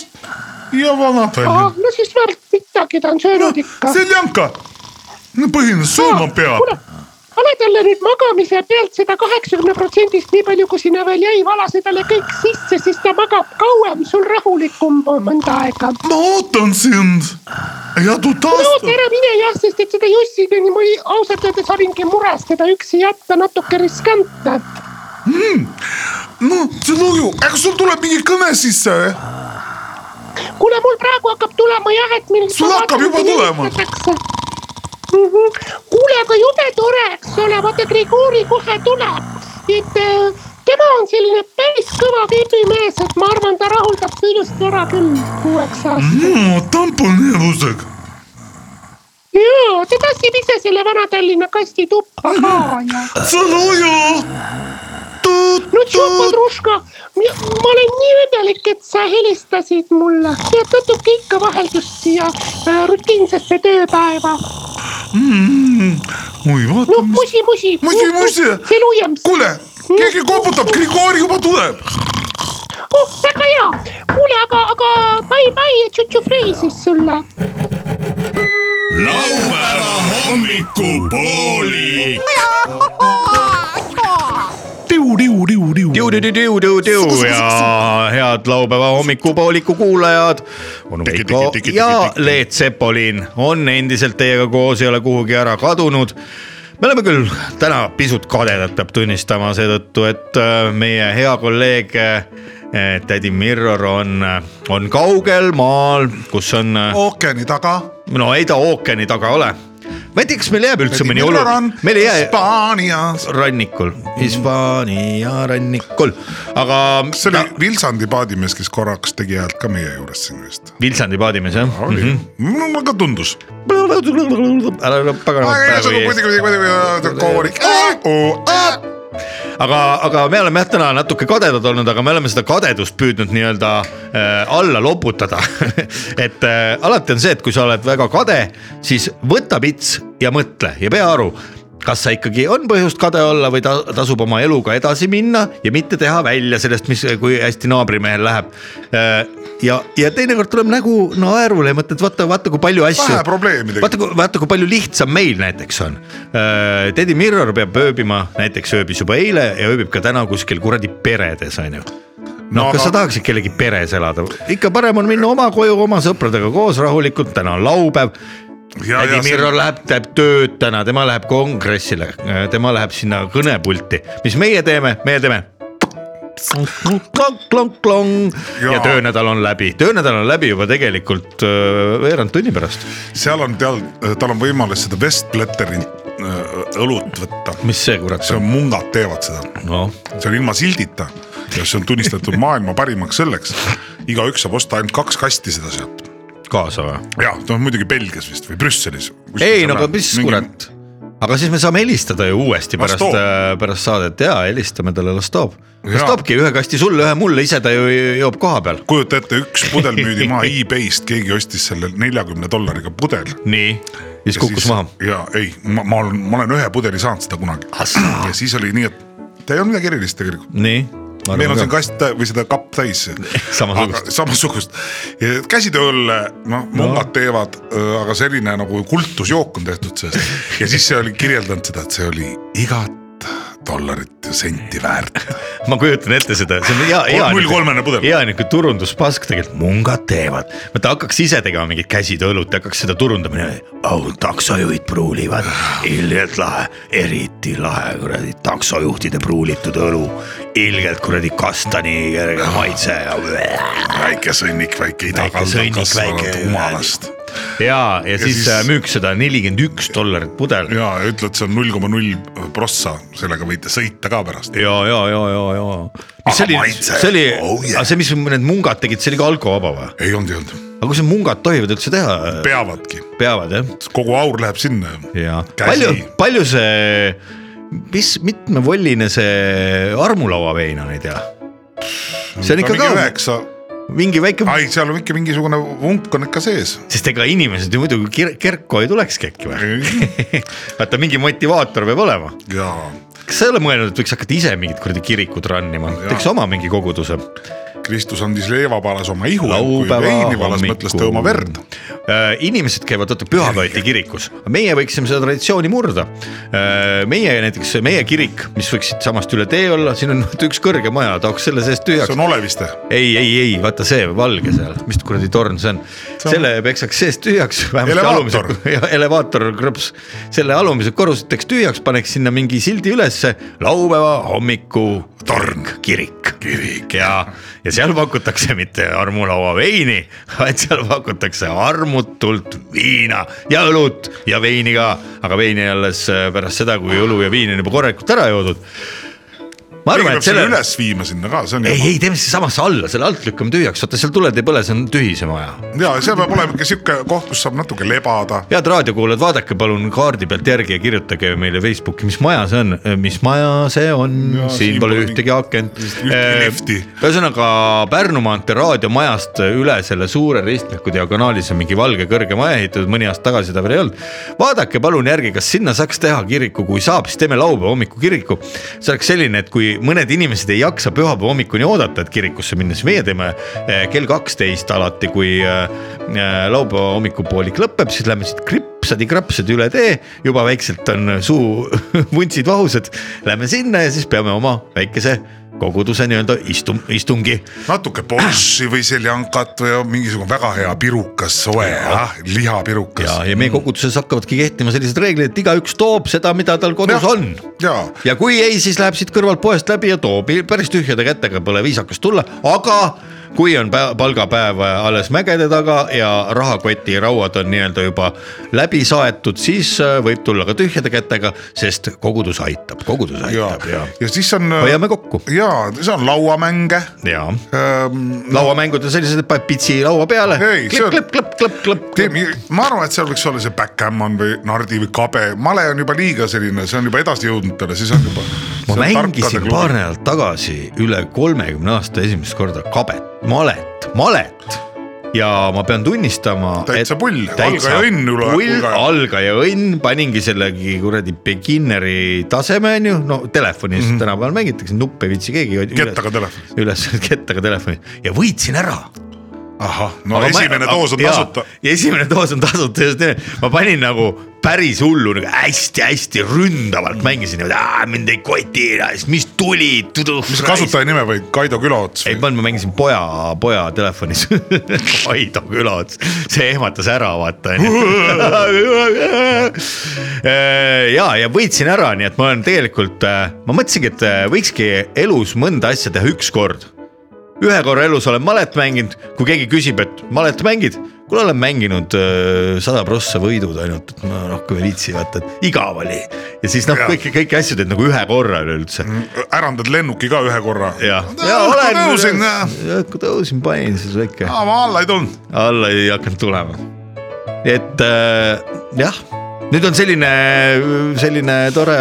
Speaker 2: ja vanapärl .
Speaker 14: ahah , no siis vähemalt midagi ta on söönud ikka .
Speaker 2: seljanka , põhine
Speaker 14: Ah,
Speaker 2: sööma peab .
Speaker 14: kuule , pane talle nüüd magamise pealt seda kaheksakümne protsendist , nii palju kui sinna veel jäi , valase talle kõik sisse , siis ta magab kauem , sul rahulikum on mõnda aega .
Speaker 2: ma ootan sind . jadu
Speaker 14: no oota
Speaker 2: taastab .
Speaker 14: ära mine jah , sest et seda Jussineni ma ei- ausalt öeldes olingi mures teda üksi jätta natuke riskantne .
Speaker 2: no see Luju , kas sul tuleb mingi kõne sisse eh? või ?
Speaker 14: kuule , mul praegu hakkab tulema jah , et meil .
Speaker 2: Sul hakkab juba tulema.
Speaker 14: Mm -hmm. kuule , aga jube tore , eks ole , vaata Grigori kohe tuleb , et äh, tema on selline päris kõva veebimees , et ma arvan , ta rahuldab su ilusti ära küll kuueks aastaks mm. .
Speaker 2: no tamponeerusega .
Speaker 14: jaa , ta tassib ise selle Vana-Tallinna kasti tuppa ka
Speaker 2: Mhm.
Speaker 14: ja .
Speaker 2: see Luju .
Speaker 14: no Tšopodruška , ma olen nii õnnelik , et sa helistasid mulle , tead natuke ikka vaheldust siia äh, rutiinsesse tööpäeva
Speaker 2: oi , vaata
Speaker 14: no
Speaker 2: mis .
Speaker 14: musi , musi .
Speaker 2: Musi, musi.
Speaker 14: Selujems .
Speaker 2: kuule , keegi koputab , Grigori juba tuleb .
Speaker 14: oh , väga hea . kuule , aga , aga bye-bye ja tšutšufrei siis sulle .
Speaker 16: laupäeva hommikupooli .
Speaker 5: tiu-tiu-tiu-tiu-tiu ja head laupäeva hommikupooliku kuulajad . onu Veiko ja Leet Sepolin on endiselt teiega koos , ei ole kuhugi ära kadunud me oleme küll täna pisut kadedad , peab tunnistama seetõttu , et äh, meie hea kolleeg äh, tädi Mirror on , on kaugel maal , kus on ,
Speaker 4: ookeani taga .
Speaker 5: no ei ta ookeani taga ole . ma ei tea , kas meil jääb üldse mõni oluline , meil ei jää
Speaker 4: Hispaanias .
Speaker 5: rannikul , Hispaania rannikul , aga
Speaker 4: see oli Vilsandi paadimees , kes korraks tegi häält ka meie juures siin vist .
Speaker 5: Vilsandi paadimees jah ?
Speaker 4: no mulle ka tundus .
Speaker 5: ära ära pagana praegu ei ees . aga , aga me oleme jah täna natuke kadedad olnud , aga me oleme seda kadedust püüdnud nii-öelda äh, alla loputada . et äh, alati on see , et kui sa oled väga kade , siis võta pits ja mõtle ja pea aru , kas sa ikkagi on põhjust kade olla või ta tasub oma eluga edasi minna ja mitte teha välja sellest , mis , kui hästi naabrimehel läheb äh, ja , ja teinekord tuleb nägu naerule ja mõtled , vaata , vaata kui palju asju .
Speaker 4: Vähe probleemidega.
Speaker 5: vaata , vaata , vaata kui palju lihtsam meil näiteks on . Teddy Mirror peab ööbima , näiteks ööbis juba eile ja ööbib ka täna kuskil kuradi peredes , onju . noh no, , kas sa tahaksid kellegi peres elada , ikka parem on minna oma koju oma sõpradega koos rahulikult , täna on laupäev .
Speaker 4: Ja- ja
Speaker 5: Tädi
Speaker 4: see-
Speaker 5: Mirror läheb , teeb tööd täna , tema läheb kongressile , tema läheb sinna kõnepulti , mis meie teeme , meie teeme klonk-klonk-klonk ja
Speaker 4: Jaa.
Speaker 5: töönädal on läbi , töönädal on läbi juba tegelikult öö, veerand tunni pärast ,
Speaker 4: seal on teal , tal on võimalus seda Westblätteri äh, õlut võtta .
Speaker 5: mis see kurat
Speaker 4: see on , mungad teevad seda ,
Speaker 5: noh
Speaker 4: see on ilma sildita ja see on tunnistatud maailma parimaks selleks . igaüks saab osta ainult kaks kasti seda sealt .
Speaker 5: kaasa või ?
Speaker 4: ja ta on muidugi Belgias vist või Brüsselis .
Speaker 5: ei , no aga mis mingi... . kurat , aga siis me saame helistada ju uuesti
Speaker 4: Las
Speaker 5: pärast
Speaker 4: toob. ,
Speaker 5: pärast saadet ja helistame talle , las toob . las
Speaker 4: Jaa.
Speaker 5: toobki ühe kasti sulle , ühe mulle , ise ta ju joob koha peal .
Speaker 4: kujuta ette , üks pudel müüdi maha e-base'ist , keegi ostis selle neljakümne dollariga pudel .
Speaker 5: nii , siis kukkus maha .
Speaker 4: ja ei , ma , ma olen , ma olen ühe pudeli saanud seda kunagi . ja siis oli nii , et ta ei olnud midagi erilist tegelikult .
Speaker 5: nii .
Speaker 4: meil on siin kast tä- või seda kapp täis .
Speaker 5: Samasugust.
Speaker 4: Aga- samasugust , käsitööõlle , noh mungad teevad , aga selline nagu kultusjook on tehtud sellest ja siis see oli kirjeldanud seda , et see oli igat dollarit senti väärt .
Speaker 5: ma kujutan ette seda , see on hea , hea .
Speaker 4: Null kolmene pudel.
Speaker 5: hea nihuke turunduspask tegelikult , mungad teevad . vaata hakkaks ise tegema mingit käsitöölut , hakkaks seda turundama .
Speaker 15: aunt taksojuhid pruulivad , ilgelt lahe , eriti lahe kuradi taksojuhtide pruulitud õlu , ilgelt kuradi kastani kerge maitse ja .
Speaker 4: väike sõnnik , väike idakaldal
Speaker 15: sõnnik,
Speaker 4: kasvanud
Speaker 15: väike-
Speaker 4: humalast .
Speaker 5: ja , ja siis
Speaker 4: siis-
Speaker 5: äh, müüks seda nelikümmend üks dollarit pudel . ja ,
Speaker 4: ja ütled , see on null koma null prossa , sellega võite sõita ka pärast .
Speaker 5: ja , ja , ja , ja .
Speaker 4: Aga
Speaker 5: mis see oli ,
Speaker 4: maitse,
Speaker 5: see oli
Speaker 4: oh yeah. ,
Speaker 5: see , mis need mungad tegid , see oli ka alkovaba või ?
Speaker 4: ei olnud , ei olnud ,
Speaker 5: aga kas need mungad tohivad üldse teha ?
Speaker 4: peavadki ,
Speaker 5: peavad jah ?
Speaker 4: kogu aur läheb sinna .
Speaker 5: ja ,
Speaker 4: Käsi.
Speaker 5: palju , palju see , mis mitmevolline see armulauavein on , ei tea . see on ikka ka
Speaker 4: üheksa ,
Speaker 5: mingi väike ,
Speaker 4: ai , seal on ikka mingisugune vunk on ikka sees .
Speaker 5: sest ega inimesed ju muidu kir- kerko ei tulekski äkki või ? vaata mingi motivaator peab olema .
Speaker 4: ja
Speaker 5: kas sa ei ole mõelnud , et võiks hakata ise mingit kuradi kirikut run ima ,
Speaker 4: Jaa.
Speaker 5: teeks oma mingi koguduse ?
Speaker 4: Kristus andis leivapalas oma ihu , kui
Speaker 5: Laupäeva
Speaker 4: veini palas
Speaker 5: hommikul. Äh,
Speaker 4: mõtles ta oma verd .
Speaker 5: inimesed käivad , vaata pühapäeviti kirikus , meie võiksime seda traditsiooni murda . meie näiteks , meie kirik , mis võiks siitsamast üle tee olla , siin on vaata üks kõrge maja , tahaks selle seest tühjaks
Speaker 4: see . on Oleviste ,
Speaker 5: ei , ei , ei vaata see valge seal , mis kuradi torn see on , selle peksaks seest tühjaks , vähemasti alumise
Speaker 4: Elevaator. ,
Speaker 5: elevaator krõps , selle alumised korrused teeks tühjaks , paneks sinna mingi sildi ülesse , laupäeva hommiku torn , kirik . kirik ja , ja seal pakutakse mitte armulaua veini , vaid seal pakutakse armutult viina ja õlut ja veini ka , aga veini alles äh, pärast seda , kui õlu ja viin on juba korralikult ära joodud . ma
Speaker 4: keegi
Speaker 5: arvan ,
Speaker 4: peab
Speaker 5: et selle
Speaker 4: selle üles viima sinna ka , see on
Speaker 5: ei ,
Speaker 4: jama .
Speaker 5: ei teeme siis samasse alla , selle alt lükkame tühjaks , vaata seal tuled ei põle , see on tühi see maja .
Speaker 4: ja seal peab olema ikka sihuke koht , kus saab natuke lebada .
Speaker 5: head raadiokuulajad , vaadake palun kaardi pealt järgi ja kirjutage meile Facebooki , mis maja see on , mis maja see on , siin
Speaker 4: siin
Speaker 5: pole
Speaker 4: pole
Speaker 5: ühtegi akent .
Speaker 4: ühtegi lifti.
Speaker 5: ühesõnaga Pärnu maantee raadiomajast üle selle suure ristmiku diagonaalis on mingi valge kõrge maja ehitatud , mõni aasta tagasi seda veel ei olnud . vaadake palun järgi , kas sinna saaks teha kiriku , kui saab , siis teeme laupäeva hommiku kiriku . see oleks selline , et kui mõned inimesed ei jaksa pühapäeva hommikuni oodata , et kirikusse minna , siis meie teeme eh, kell kaksteist alati , kui eh, eh, laupäeva hommikupoolik lõpeb , siis lähme siit kripsadi-krapsadi üle tee , juba väikselt on suu vuntsid vahused . Lähme sinna ja siis peame oma väikese koguduse nii-öelda istum- , istungi
Speaker 4: natuke borši või seljankat või mingisugune väga hea pirukas soe , jah , lihapirukas .
Speaker 5: ja , ja meie koguduses hakkavadki kehtima sellised reeglid , et igaüks toob seda , mida tal kodus
Speaker 4: Jah.
Speaker 5: ja. on .
Speaker 4: ja ,
Speaker 5: ja kui ei , siis läheb siit kõrvalt poest läbi ja toob I- päris tühjade kätega , pole viisakas tulla , aga kui on pä- palgapäev alles mägede taga ja rahakoti rauad on nii-öelda juba läbi saetud , siis äh, võib tulla ka tühjade kätega , sest kogudus aitab , kogudus
Speaker 4: ja
Speaker 5: aitab , ja,
Speaker 4: ja. ja siis on .
Speaker 5: hoiame kokku
Speaker 4: ja siis on lauamänge . Ähm,
Speaker 5: ja lauamängud on sellised , et paned pitsi laua peale ,
Speaker 4: Ei, see on-
Speaker 5: klõpp-klõpp-klõpp-klõpp-klõpp .
Speaker 4: ma arvan , et seal võiks olla see backgammon või nardi või kabe , male on juba liiga selline , see on juba edasi jõudnud talle , siis on juba .
Speaker 5: ma mängisin paar . nädalat tagasi üle kolmekümne aasta esimest korda kabet , malet , malet ja ma pean tunnistama .
Speaker 4: Täitsa pull, algaja õnn üle-
Speaker 5: pull ,
Speaker 4: hulga-
Speaker 5: algaja õnn , paningi sellegi kuradi beginneri taseme onju , no telefonis mm -hmm. tänapäeval mängitakse , nuppe ei viitsi keegi .
Speaker 4: Mhm. kettaga . telefonis .
Speaker 5: üles kettaga telefoni ja võitsin ära
Speaker 4: ahah , no
Speaker 5: Aga ma-
Speaker 4: esimene
Speaker 5: aga-
Speaker 4: doos on
Speaker 5: jaa,
Speaker 4: tasuta .
Speaker 5: ja esimene doos on tasuta , just nii , ma panin nagu päris hullu nagu hästi-hästi ründavalt mängisin , mind ei koti , siis mis tuli .
Speaker 4: mis see kasutaja nime või Kaido Külaots
Speaker 5: ei
Speaker 4: või ?
Speaker 5: pannud , ma mängisin poja , poja telefonis . Kaido Külaots , see ehmatas ära , vaata onju . ja , ja võitsin ära , nii et ma olen tegelikult , ma mõtlesingi , et äh, võikski elus mõnda asja teha ükskord . ühe korra elus olen malet mänginud , kui keegi küsib , et malet mängid , kuule olen mänginud äh, sada prossa võidud ainult , et ma rohkem ei viitsi , vaata , et igav oli . ja siis noh ,
Speaker 4: Jaa.
Speaker 5: kõiki , kõiki asju teed nagu ühe korra üleüldse
Speaker 4: Mm, ärandad lennuki ka ühe korra .
Speaker 5: ja , ja
Speaker 4: õhku tõusin ,
Speaker 5: õhku tõusin , panin siis väike ,
Speaker 4: ma alla ei tulnud .
Speaker 5: alla ei hakanud tulema . et äh, jah , nüüd on selline , selline tore ,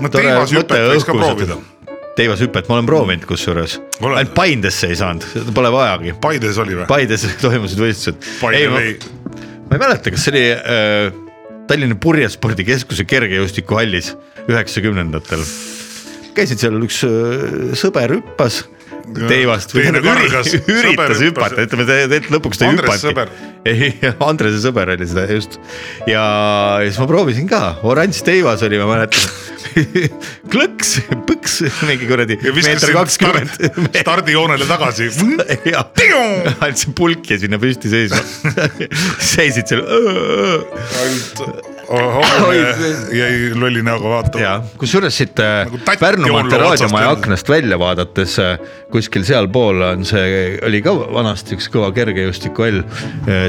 Speaker 5: tore mõte
Speaker 4: teivashüpet võiks ka
Speaker 5: õhku
Speaker 4: proovida .
Speaker 5: teivashüpet ma olen proovinud kusjuures ,
Speaker 4: Oled?
Speaker 5: ainult Paindesse ei saanud , seda pole vajagi .
Speaker 4: Paides oli või ?
Speaker 5: Paides toimusid võistlused .
Speaker 4: Paide või ?
Speaker 5: ma ei mäleta , kas see oli äh, Tallinna Purjespordikeskuse kergejõustikuhallis üheksakümnendatel . käisid seal üks äh, sõber hüppas
Speaker 3: teivast või
Speaker 4: Teine
Speaker 3: tähendab
Speaker 4: kargas,
Speaker 3: üri,
Speaker 4: sõber
Speaker 3: üritas
Speaker 4: hüppas.
Speaker 3: hüpata , ütleme , tegelikult lõpuks ta ei
Speaker 4: Andrese
Speaker 3: hüpanudki
Speaker 4: sõber. .
Speaker 3: ei , Andrese sõber oli seda just ja ja siis ma proovisin ka , oranž teivas oli , ma mäletan . klõks , põks , mingi kuradi meeter kakskümmend .
Speaker 4: stardijoonele tagasi .
Speaker 3: jah , andsin pulki sinna püsti seisma . seisid seal .
Speaker 4: oh, jäi lolli näoga vaatama .
Speaker 3: jah , kusjuures siit äh,
Speaker 4: tatti
Speaker 3: Pärnumaalt
Speaker 4: joonele otsast
Speaker 3: raadiomaja
Speaker 4: jälle.
Speaker 3: aknast välja vaadates äh, kuskil sealpool on see , oli ka vanasti üks kõva kergejõustikuhall ,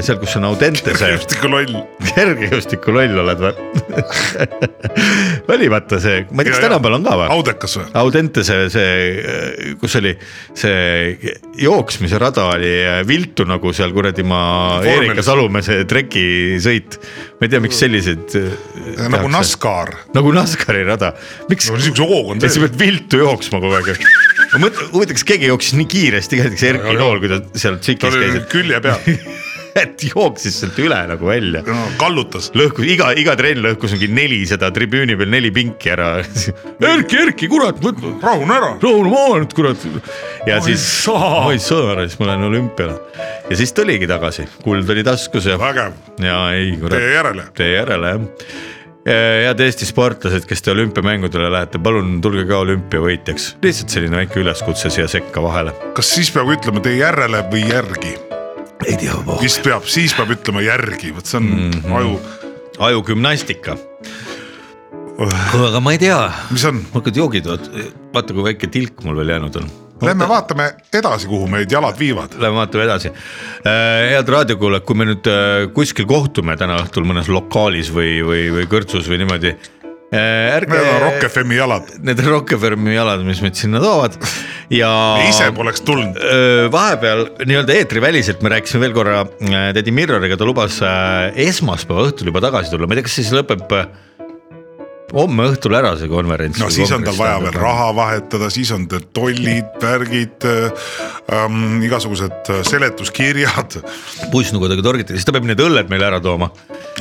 Speaker 3: seal , kus on Audente see .
Speaker 4: kergejõustikuloll .
Speaker 3: kergejõustikuloll oled või ? oli vaata see , ma ei tea ,
Speaker 4: Ja,
Speaker 3: kas
Speaker 4: ja.
Speaker 3: tänapäeval on ka või ?
Speaker 4: Audekas või ?
Speaker 3: Audente see , see , kus oli see jooksmise rada oli viltu nagu seal kuradi maa
Speaker 4: Vormelis.
Speaker 3: Erika Salumäe trekisõit . ma ei tea , miks selliseid . äh,
Speaker 4: nagu . NASCAR .
Speaker 3: nagu NASCARi rada , miks no, ?
Speaker 4: niisuguse hooga on
Speaker 3: et sa
Speaker 4: see .
Speaker 3: pead viltu jooksma kogu aeg . ma mõtlen , huvitav , kas keegi jooksis nii kiiresti ka näiteks Erki Nool , kui ta seal
Speaker 4: ta
Speaker 3: tsiklis
Speaker 4: oli
Speaker 3: käis ,
Speaker 4: külje peal ,
Speaker 3: et jooksis sealt üle nagu välja .
Speaker 4: kallutas .
Speaker 3: lõhkus iga , iga trenn lõhkus mingi nelisada tribüüni peal neli pinki ära . Erki , Erki , kurat ,
Speaker 4: rahune ära .
Speaker 3: rahune maha nüüd , kurat . ja
Speaker 4: Ma ei
Speaker 3: siis , ma ei saa ära , siis ma lähen olümpiale . ja siis ta oligi tagasi , kuld oli taskus ja .
Speaker 4: vägev .
Speaker 3: ja ei , kurat .
Speaker 4: Tee järele.
Speaker 3: tee järele jah Eh, head Eesti sportlased , kes te olümpiamängudele lähete , palun tulge ka olümpiavõitjaks , lihtsalt selline väike üleskutse siia sekka vahele .
Speaker 4: kas siis peab ütlema tee järele või järgi ?
Speaker 3: ei tea , Mhm.
Speaker 4: vist peab , siis peab ütlema järgi , vot see on mm -hmm. aju ,
Speaker 3: ajugümnastika . aga ma ei tea ,
Speaker 4: oh, mis on .
Speaker 3: hakkad joogid , vaata kui väike tilk mul veel jäänud on .
Speaker 4: Lähme vaatame edasi , kuhu meid jalad viivad .
Speaker 3: Lähme vaatame edasi . head raadiokuulajad , kui me nüüd äh, kuskil kohtume täna õhtul mõnes lokaalis või , või , või kõrtsus või niimoodi . ärge
Speaker 4: Need on Rock FM-i jalad ,
Speaker 3: need Rockefelleri jalad , mis meid sinna toovad ja .
Speaker 4: ise poleks tulnud .
Speaker 3: vahepeal nii-öelda eetriväliselt me rääkisime veel korra äh, tädi Mirroriga , ta lubas äh, esmaspäeva õhtul juba tagasi tulla , ma ei tea , kas siis lõpeb äh, homme õhtul ära see konverents .
Speaker 4: no siis on tal vaja veel . raha vahetada , siis on tal tollid , värgid ähm, , igasugused äh, seletuskirjad .
Speaker 3: pussnugudega torgiti , siis ta peab need õlled meile ära tooma .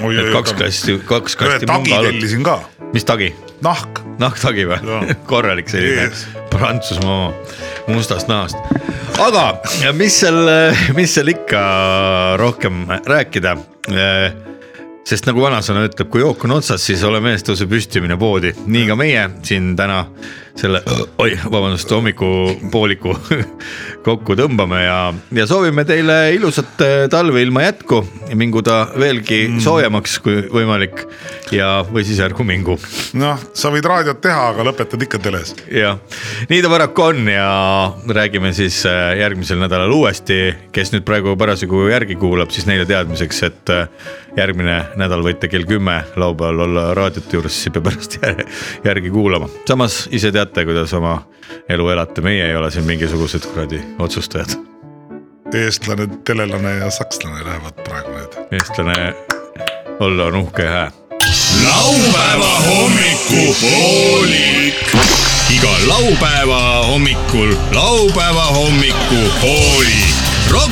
Speaker 4: Oi,
Speaker 3: et
Speaker 4: oi,
Speaker 3: kaks
Speaker 4: oi.
Speaker 3: kasti , kaks
Speaker 4: ühe
Speaker 3: kasti
Speaker 4: tagi
Speaker 3: munga õlut .
Speaker 4: tellisin ka ,
Speaker 3: mis tagi ?
Speaker 4: nahk .
Speaker 3: nahktagi või
Speaker 4: Jaa. ?
Speaker 3: korralik selline
Speaker 4: Yes.
Speaker 3: Prantsusmaa oma, mustast nahast . aga mis seal , mis seal ikka rohkem rääkida . sest nagu vanasõna ütleb , kui jook on otsas , siis ole mees , tõuse püsti , mine poodi . nii ka meie siin täna selle , oi , vabandust , hommikupooliku kokku tõmbame ja , ja soovime teile ilusat eh, talve ilma jätku . mingu ta veelgi soojemaks , kui võimalik ja , või siis ärgu mingu
Speaker 4: noh , sa võid raadiot teha , aga lõpetad ikka teles .
Speaker 3: jah , nii ta paraku on ja räägime siis äh, järgmisel nädalal uuesti , kes nüüd praegu parasjagu järgi kuulab , siis neile teadmiseks , et äh, järgmine nädal võite kell kümme laupäeval olla raadiote juures , siis ei pea pärast jär- järgi kuulama . samas ise teate , kuidas oma elu elate , meie ei ole siin mingisugused kuradi otsustajad .
Speaker 4: eestlane , telelane ja sakslane lähevad praegu need .
Speaker 3: eestlane olla on uhke ja hää .
Speaker 1: laupäeva hommikupoolik .
Speaker 17: iga laupäeva hommikul laupäeva hommikupooli Rock